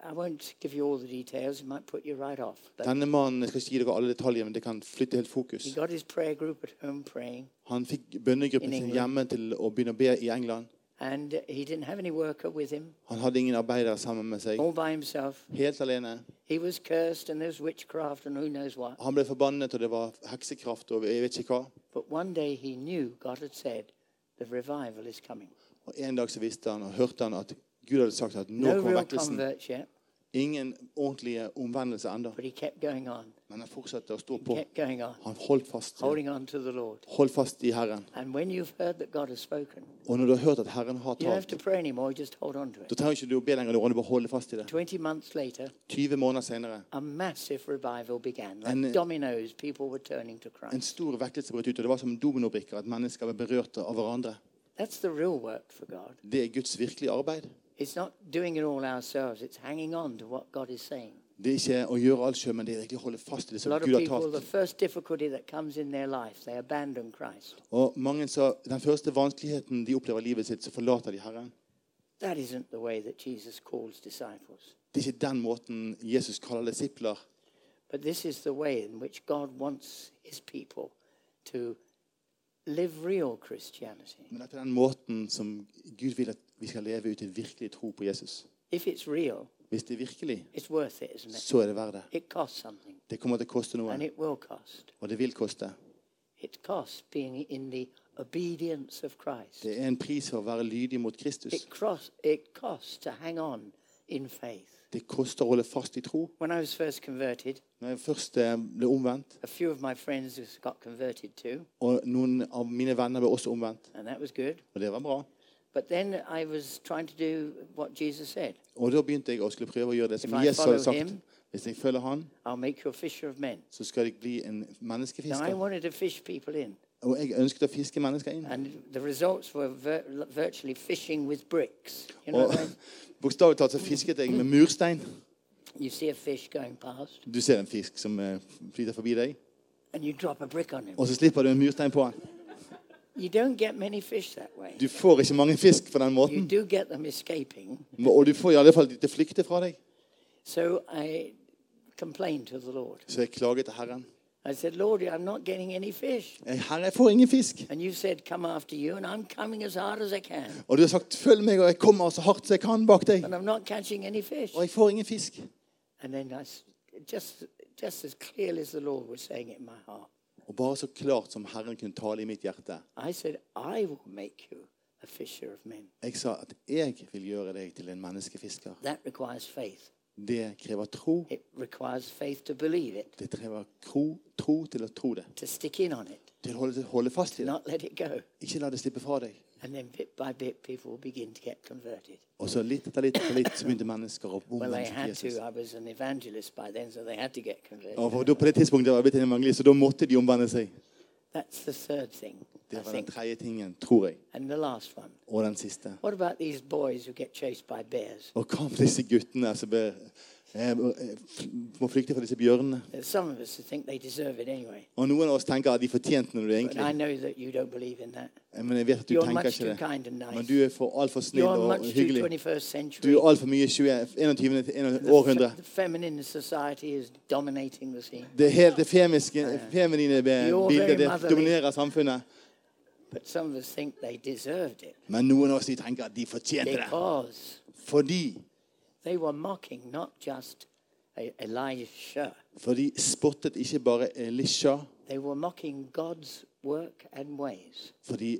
I won't give you all the details, it might put you right off. But
Denne mannen jeg skal ikke gi dere alle detaljer, men det kan flytte helt
he
fokus.
got his prayer group at home praying.
Han fikk
In
bønnegruppen sin
England.
hjemme til å begynne å be i England.
and he didn't have any worker with him,
Han hadde ingen arbeidere sammen med seg.
all by himself.
Helt alene.
He was cursed, and there's witchcraft, and who knows what.
Han ble forbannet, og det var heksekraft og jeg vet ikke hva.
But one day he knew God had said, "The revival is coming."
Og En dag så visste han og hørte han at Gud hadde sagt at nå
No
kommer
real
vekkelsen.
converts yet,
Ingen ordentlige omvendelser ennå.
but he kept going on,
Men han fortsatte å stå på.
kept going on,
Han holdt fast.
holding on to the Lord.
Hold fast i Herren.
And when you've heard that God has spoken,
Og når du har hørt at Herren har
you don't have
talt,
to pray anymore. you Just hold on to it.
da trenger ikke du å be lenger. Du kan bare holde fast i det.
Twenty months later,
20 måneder senere,
a massive revival began. Like
And, uh,
dominoes, people were turning to
en
Christ.
stor vekkelse brøt ut, og det var som dominobrikker at mennesker ble berørt av hverandre.
That's the real work for God.
Det er Guds virkelige arbeid.
It's not doing it all ourselves. It's hanging on to what God is saying.
Det er ikke å gjøre alt sjøl, men det er virkelig å holde fast i det
A
som
lot of
Gud har
people, the
talt.
first difficulty that comes in their life, they abandon Christ.
Og mange sa den første vanskeligheten de opplever i livet sitt, så forlater de Herren.
That isn't the way that Jesus calls disciples.
Det er ikke den måten Jesus kaller disipler.
But this is the way in which God wants his people to live real Christianity.
Men dette er den måten som Gud vil at vi skal leve ut en virkelig tro på Jesus.
If it's real,
Hvis det er virkelig,
it's worth it, isn't it?
så er det verdt det.
It costs something,
Det kommer til å koste noe,
and it will cost.
og det vil koste.
It costs being in the obedience of Christ.
Det er en pris for å være lydig mot Kristus.
It, cross, it costs to hang on in faith.
Det koster å holde fast i tro.
When I was first converted,
Når jeg først eh, ble omvendt,
a few of my friends got converted too,
og noen av mine venner ble også omvendt,
and that was good.
og det var bra,
But then I was trying to do what Jesus said
og da begynte jeg å skulle prøve å gjøre det som
If I
Jesus hadde
follow
sagt.
him-
Hvis jeg følger han,
I'll make you a fisher of men.
så skal jeg bli en
Now, I
menneskefisker.
wanted to fish people in,
Og jeg ønsket å fiske mennesker inn.
and the results were vir- virtually fishing with bricks. You know,
Og
what I mean?
bokstavelig talt så fisket jeg med murstein.
you see a fish going past,
Du ser en fisk som eh, flyter forbi deg,
and you drop a brick on him.
og så slipper du en murstein på den.
You don't get many fish that way.
Du får ikke mange fisk på den
You
måten,
do get them escaping.
og du får i alle fall de til å flykte fra deg.
So I complained to the Lord.
Så jeg klaget til Herren.
I said, Lord, I'm not getting any fish.
Jeg, Herre, jeg får ingen fisk.
And you said, Come after you, and I'm coming as hard as I can,
Og du har sagt 'følg meg', og jeg kommer så hardt som jeg kan bak deg.
but I'm not catching any fish.
Og jeg får ingen fisk.
And then I, s- just, just as clearly as the Lord was saying it in my heart,
Og bare så klart som Herren kunne tale i mitt hjerte.
I said, I will make you a fisher of men.
Jeg sa at jeg vil gjøre deg til en menneskefisker.
That requires faith.
Det krever tro.
It requires faith to believe it,
Det krever tro, tro til å tro det.
to stick in on it,
Til å holde, holde fast i det.
not let it go.
Ikke la det slippe fra deg.
And then bit by bit, people will begin to get converted.
Og så litt etter litt etter litt så begynte mennesker å
Well, they
omvende seg til
had
Jesus. Oh,
to. uh, I was an evangelist by then, so they had to get converted.
Og for- da- på det tidspunktet var jeg blitt en evangelist, og da måtte de omvende seg.
That's the third thing, I
Det var den
think.
tredje tingen, tror jeg.
And the last one.
Og den siste.
What about these boys who get chased by bears?
Og hva med disse guttene som ber, eh, eh, må flykte fra disse bjørnene?
There's Some of us who think they deserve it anyway.
Og noen av oss tenker at de fortjente noe,
But I
egentlig. Eh,
know that you don't believe in that.
Men jeg vet at du
You're
tenker
much too
ikke det.
kind and
Men
nice.
du er for altfor snill
You're
og
much too
hyggelig.
21st
Du
century.
er altfor mye 20, 21. til 21
The, fe-
århundre.
the feminine society is dominating the scene.
Det helt det femiske, feminine be-
Uh, You're
bildet
very
det
motherly.
dominerer samfunnet.
But some of us think they deserved it
Men noen av oss de tenker at de fortjente det.
because
Fordi,
they were mocking not just E- Elisha,
for de spottet ikke bare Elisha,
they were mocking God's work and ways.
for de,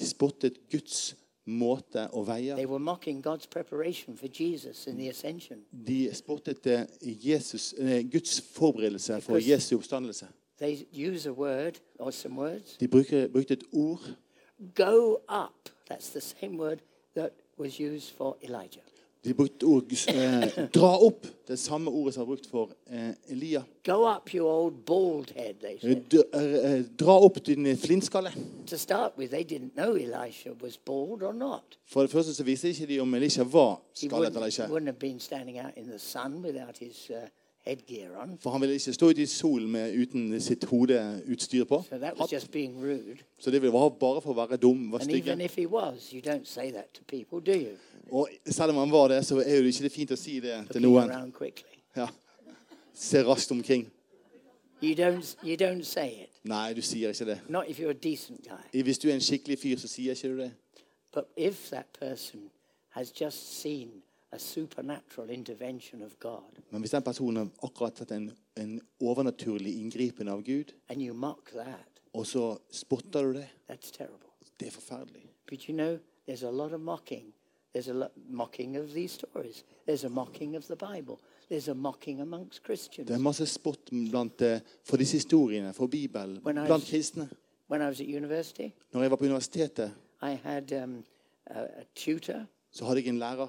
de spottet Guds måte og veier.
They were mocking God's preparation for Jesus in the ascension.
De spottet eh, Jesus, eh, Guds forberedelse for
Because-
Jesu oppstandelse.
They use a word or some words.
De bruker, brukte et ord,
Go up. That's the same word that was used for Elijah.
de brukte et ord eh, dra opp, det samme ordet som var brukt for eh, Elia.
Go up, you old bald head, they
Eh,
said.
d- eh, Dra opp din flintskalle.
To start with, they didn't know Elisha was bald or not.
For det første så viste ikke de om Elisha var
He
skallet eller
wouldn't,
ikke.
wouldn't have been standing out in the sun without his uh, headgear on.
For han ville ikke stå ute i solen med, uten sitt hodeutstyr på.
So that was
Hatt.
just being rude.
Så det var bare for å være dum og
And
stygge.
even if he was, you don't say that to people, do you?
Og selv om han var det, så er jo ikke det fint å si det
Looking
til noen.
around quickly.
Ja. Se raskt omkring.
You don't, you don't say it.
Nei, du sier ikke det.
Not if you're a decent guy.
Hvis du er en skikkelig fyr, så sier ikke du det.
But if that person has just seen a supernatural intervention of God
Men hvis den personen har akkurat tatt en, en overnaturlig inngripen av Gud,
and you mock that,
og så spotter du det,
that's terrible.
det er forferdelig.
But you know, there's a lot of mocking. There's a lot mocking of these stories. There's a mocking of the Bible. There's a mocking amongst Christians.
Det er masse spott blant, eh, for disse historiene, for Bibelen,
When I-
blant kristne.
When I was at university,
Når jeg var på universitetet,
I had um, a, a tutor
så hadde jeg en lærer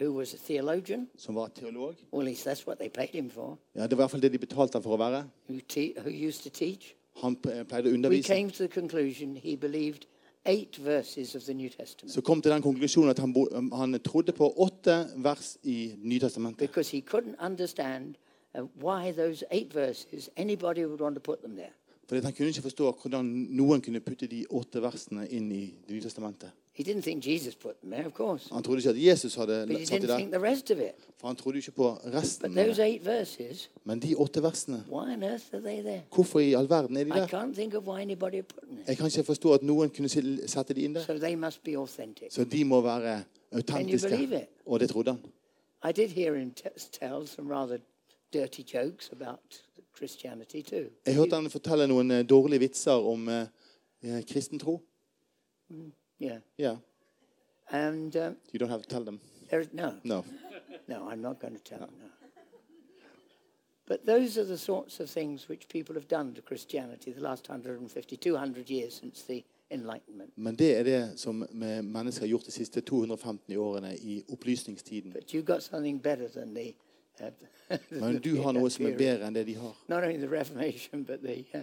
who was a theologian,
som var teolog.
or at least that's what they paid him for,
Ja, Det var i hvert fall det de betalte han for å være.
who, te- who used to teach.
Han eh, pleide å
We
undervise.
came to the conclusion he believed eight verses of the New Testament.
Så kom til den konklusjonen at han, bo- um, han trodde på åtte vers i Nytestamentet.
because he couldn't understand uh, why those eight verses anybody would want to put them there.
Fordi at han kunne ikke forstå hvordan noen kunne putte de åtte versene inn i Det nye testamentet.
He didn't think Jesus put them there, of course,
Han trodde ikke at Jesus hadde
but he
satt det
didn't
der,
think the rest of it.
for han trodde jo ikke på
But
resten. av
those
det.
eight verses,
Men de åtte versene,
why on earth are they there?
hvorfor i all verden er de
I
der?
can't think of why anybody would put them there.
Jeg kan ikke forstå at noen kunne se- sette de inn der.
So they must be authentic.
Så de må være
believe
autentiske.
it?
Og det trodde han.
I did hear him t- tell some rather dirty jokes about Christianity too.
Jeg hørte han fortelle noen eh, dårlige vitser om eh, eh, kristen tro.
Yeah.
Yeah,
And um,
you don't have to tell them.
there is no.
No.
No, I'm not going to tell them. No. But those are the sorts of things which people have done to Christianity the last 150, 200 years since the Enlightenment.
Men det er det som eh, mennesker har gjort de siste 250 årene i opplysningstiden.
But you've got something better than the. Uh,
Men du har noe som er
period.
bedre enn det de har.
Not only the Reformation, but the uh,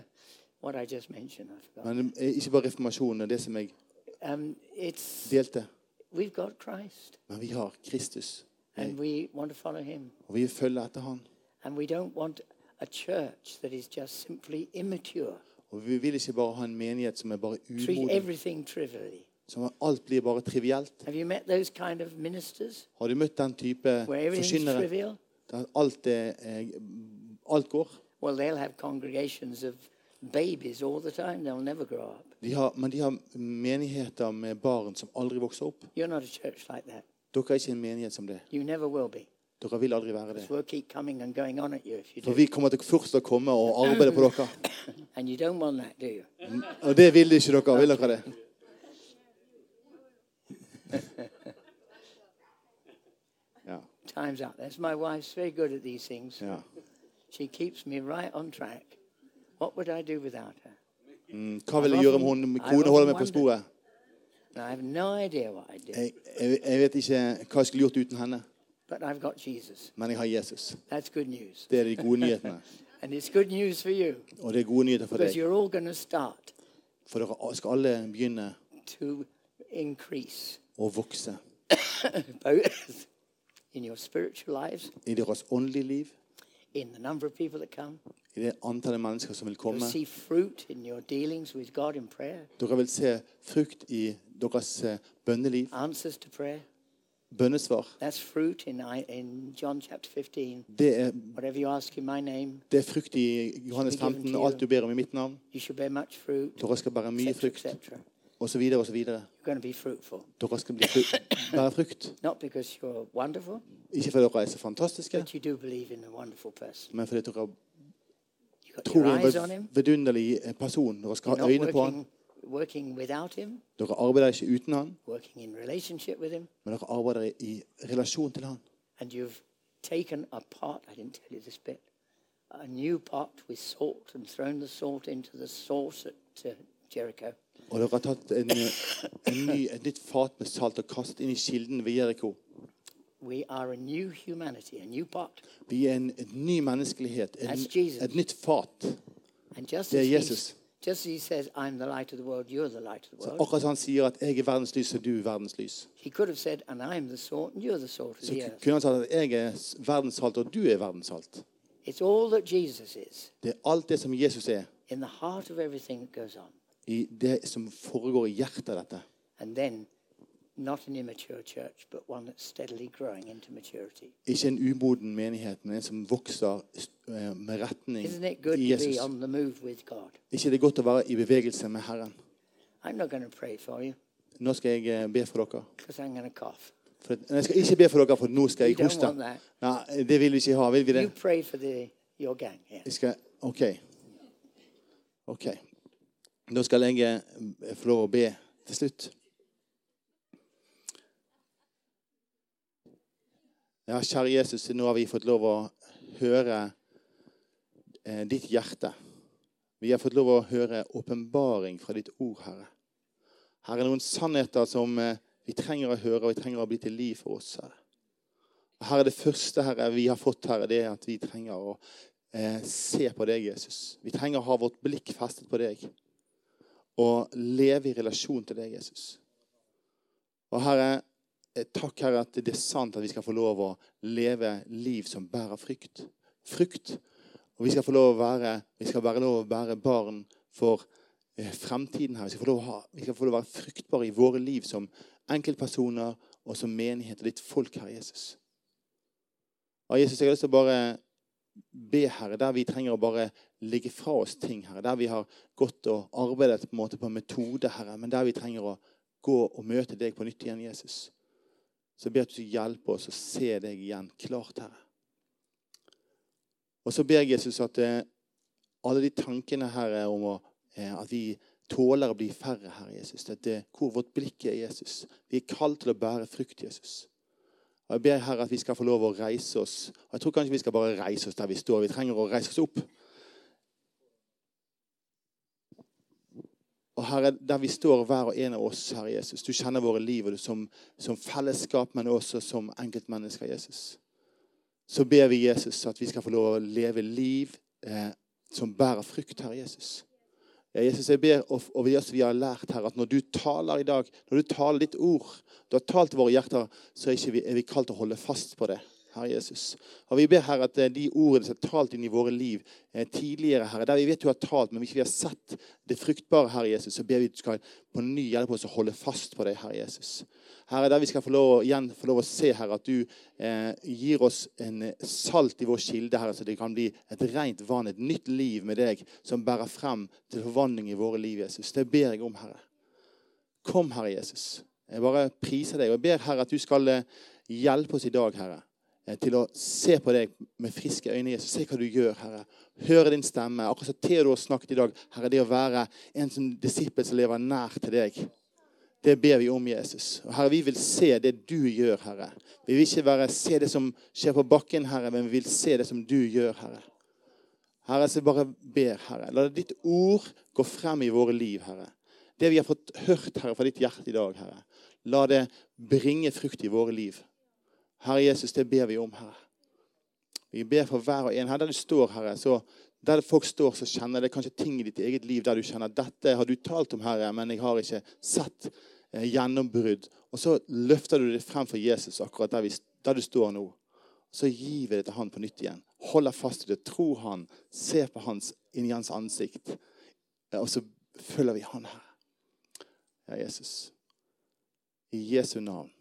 what I just mentioned. I forgot.
Men eh, ikke bare reformasjonen og det som jeg
Um, it's
delte.
we've got Christ,
Men vi har Kristus,
and we want to follow Him,
og vi følger etter han.
and we don't want a church that is just simply immature,
Og vi vil ikke bare ha en menighet som er bare
treat
umoden,
everything trivially.
som alt blir bare trivielt.
Have you met those kind of ministers
Har du møtt den type
where everything's
forkynnere
trivial?
der alt, er, eh, alt går?
Well, they'll have congregations of babies all the time. They'll never grow up.
De har, men de har menigheter med barn som aldri vokser opp.
You're not a church like that.
Dere er ikke en menighet som det.
You never will be.
Dere vil aldri være det.
Because we'll keep coming and going on at you if you
For
do.
vi kommer til først å komme og arbeide på dere.
And you don't want that, do you?
Og det vil ikke dere. Vil dere det? Ja.
Time's up. That's my wife's very good at these things.
ja.
She keeps me right on track. What would I do without her?
Mm, Hva vil jeg gjøre om hun, kone holder meg på sporet?
Now, I have no idea what I'd do,
Jeg, jeg, jeg vet ikke hva jeg skulle gjort uten henne,
but I've got Jesus.
men jeg har Jesus.
That's good news.
Det er de gode nyhetene.
And it's good news for you
Og det er gode nyheter for
because
deg.
you're all going to start
For dere skal alle begynne
to increase
å vokse
both in your spiritual lives,
i deres åndelige liv,
in the number of people that come.
i det antallet mennesker som vil
You'll
komme.
see fruit in your dealings with God in prayer,
Dere vil se frukt i deres eh, bønneliv,
answers to prayer.
bønnesvar.
That's fruit in, I- in John chapter 15.
Det er,
Whatever you ask in my name,
det er frukt i Johannes 15 og alt du ber om i mitt navn.
you shall bear much fruit,
Dere skal bære mye
etc.,
frukt,
etc.
osv. osv. Dere
You're going to be fruitful.
skal bli frukt, bære frukt.
Not because you're wonderful,
Ikke fordi dere er så fantastiske,
but you do believe in a wonderful person.
men fordi dere
You've got
tror
your
i en
eyes on him.
vid- vidunderlig eh, person. Dere skal ha
You're
øyne
not
på han.
working, working without him,
Dere arbeider ikke uten han,
working in relationship with him,
men dere arbeider i relasjon til han.
and you've taken a pot, I didn't tell you this bit, a new pot with salt and thrown the salt into the sauce at uh, Jericho.
Og dere har tatt en, eh, en ny, et nytt fat med salt og kastet inn i kilden ved Jeriko.
We are a new humanity, a new pot.
Vi er en, en ny menneskelighet, en,
That's Jesus.
et nytt fat.
And just
Yeah,
as,
yes,
he,
yes. oh.
just as he says, I'm the light of the world, you're the light of the world,
Akkurat som han sier at 'jeg er verdens lys, og du er verdens lys'.
he could have said, and I'm the salt and you're the salt of
Så
the
ku-
earth.
kunne han sagt at 'jeg er s- verdens salt, og du er verdens salt'.
It's all that Jesus is
Det er alt det som Jesus er,
in the heart of everything that goes on.
i det som foregår i hjertet av dette.
And then, not an immature church, but one that's steadily growing into maturity.
Ikke en umoden menighet, men en som vokser eh, med retning
Isn't it good
i
to
Jesus.
be on the move with God?
ikke det er godt å være i bevegelse med Herren?
I'm not going to pray for you
Nå skal jeg eh, be for dere.
because I'm going to cough.
For, nei, jeg skal ikke be for dere, for nå skal
You
jeg
don't
hoste.
want that.
Nei, det vil vi ikke ha. Vil vi det?
You pray for the your gang here.
Jeg skal, OK. OK. Da skal jeg eh, få lov å be til slutt. Ja, kjære Jesus, nå har vi fått lov å høre eh, ditt hjerte. Vi har fått lov å høre åpenbaring fra ditt ord, Herre. Herre, noen sannheter som eh, vi trenger å høre, og vi trenger å bli til liv for oss, Herre. Herre, det første Herre, vi har fått, Herre, det er at vi trenger å eh, se på deg, Jesus. Vi trenger å ha vårt blikk festet på deg og leve i relasjon til deg, Jesus. Og Herre, eh, takk, Herre, at det er sant at vi skal få lov å leve liv som bærer frykt. Frukt. Og vi skal få lov å være, vi skal være lov å være barn for eh, fremtiden her. Vi skal få lov å, ha, vi skal få lov å være fruktbare i våre liv som enkeltpersoner og som menighet og ditt folk, Herre Jesus. Og Jesus, jeg har lyst til å bare be, Herre, der vi trenger å bare legge fra oss ting, Herre. Der vi har gått og arbeidet på en måte på en metode, Herre, men der vi trenger å gå og møte deg på nytt igjen, Jesus. Så jeg ber at du hjelper oss å se deg igjen klart, Herre. Og så ber jeg Jesus at eh, alle de tankene, Herre, om å, eh, at vi tåler å bli færre, Herre Jesus. At det, hvor vårt blikk er, Jesus. Vi er kalt til å bære frukt, Jesus. Og Jeg ber Herre at vi skal få lov å reise oss. Og Jeg tror kanskje vi skal bare reise oss der vi står. Vi trenger å reise oss opp. Og Herre, der vi står, hver og en av oss, Herre Jesus, du kjenner våre liv og du som, som fellesskap, men også som enkeltmennesker, Jesus. Så ber vi Jesus at vi skal få lov å leve liv eh, som bærer frukt, Herre Jesus. Ja, Jesus, jeg ber og- over det vi har lært her, at når du taler i dag, når du taler ditt ord, du har talt i våre hjerter, så er, ikke vi, er vi kalt til å holde fast på det. Herre Jesus. Og Vi ber Herre, at eh, de ordene som er talt inn i våre liv eh, tidligere, Herre, der vi vet du har talt, men vi ikke vi har sett det fruktbare, Herre Jesus, så ber vi at du skal på ny hjelpe oss å holde fast på det, Herre Jesus. Herre, der vi skal få lov, å- igjen få lov å se, Herre, at du eh, gir oss en eh, salt i vår kilde, Herre, så det kan bli et rent vann, et nytt liv med deg, som bærer frem til forvandling i våre liv, Jesus. Det ber jeg om, Herre. Kom, Herre Jesus. Jeg bare priser deg og ber, Herre, at du skal eh, hjelpe oss i dag, Herre, eh, til å se på deg med friske øyne, Jesus. Se hva du gjør, Herre. Høre din stemme. Akkurat som Theodor snakket i dag, Herre, det å være en som disippel som lever nær til deg. Det ber vi om, Jesus. Og Herre, vi vil se det du gjør, Herre. Vi vil ikke bare se det som skjer på bakken, Herre, men vi vil se det som du gjør, Herre. Herre, så jeg bare ber, Herre, la ditt ord gå frem i våre liv, Herre. Det vi har fått hørt, Herre, fra ditt hjerte i dag, Herre, la det bringe frukt i våre liv. Herre Jesus, det ber vi om, Herre. Vi ber for hver og en her der du står, Herre. så der folk står, så kjenner det kanskje ting i ditt eget liv der du kjenner dette har du talt om, Herre, men jeg har ikke sett eh, gjennombrudd. Og så løfter du det frem for Jesus akkurat der, vi, der du står nå. Så gir vi det til han på nytt igjen. Holder fast i det. Tror han. Ser på hans, inn i hans ansikt. Eh, Og så følger vi han her. Ja, Jesus. I Jesu navn.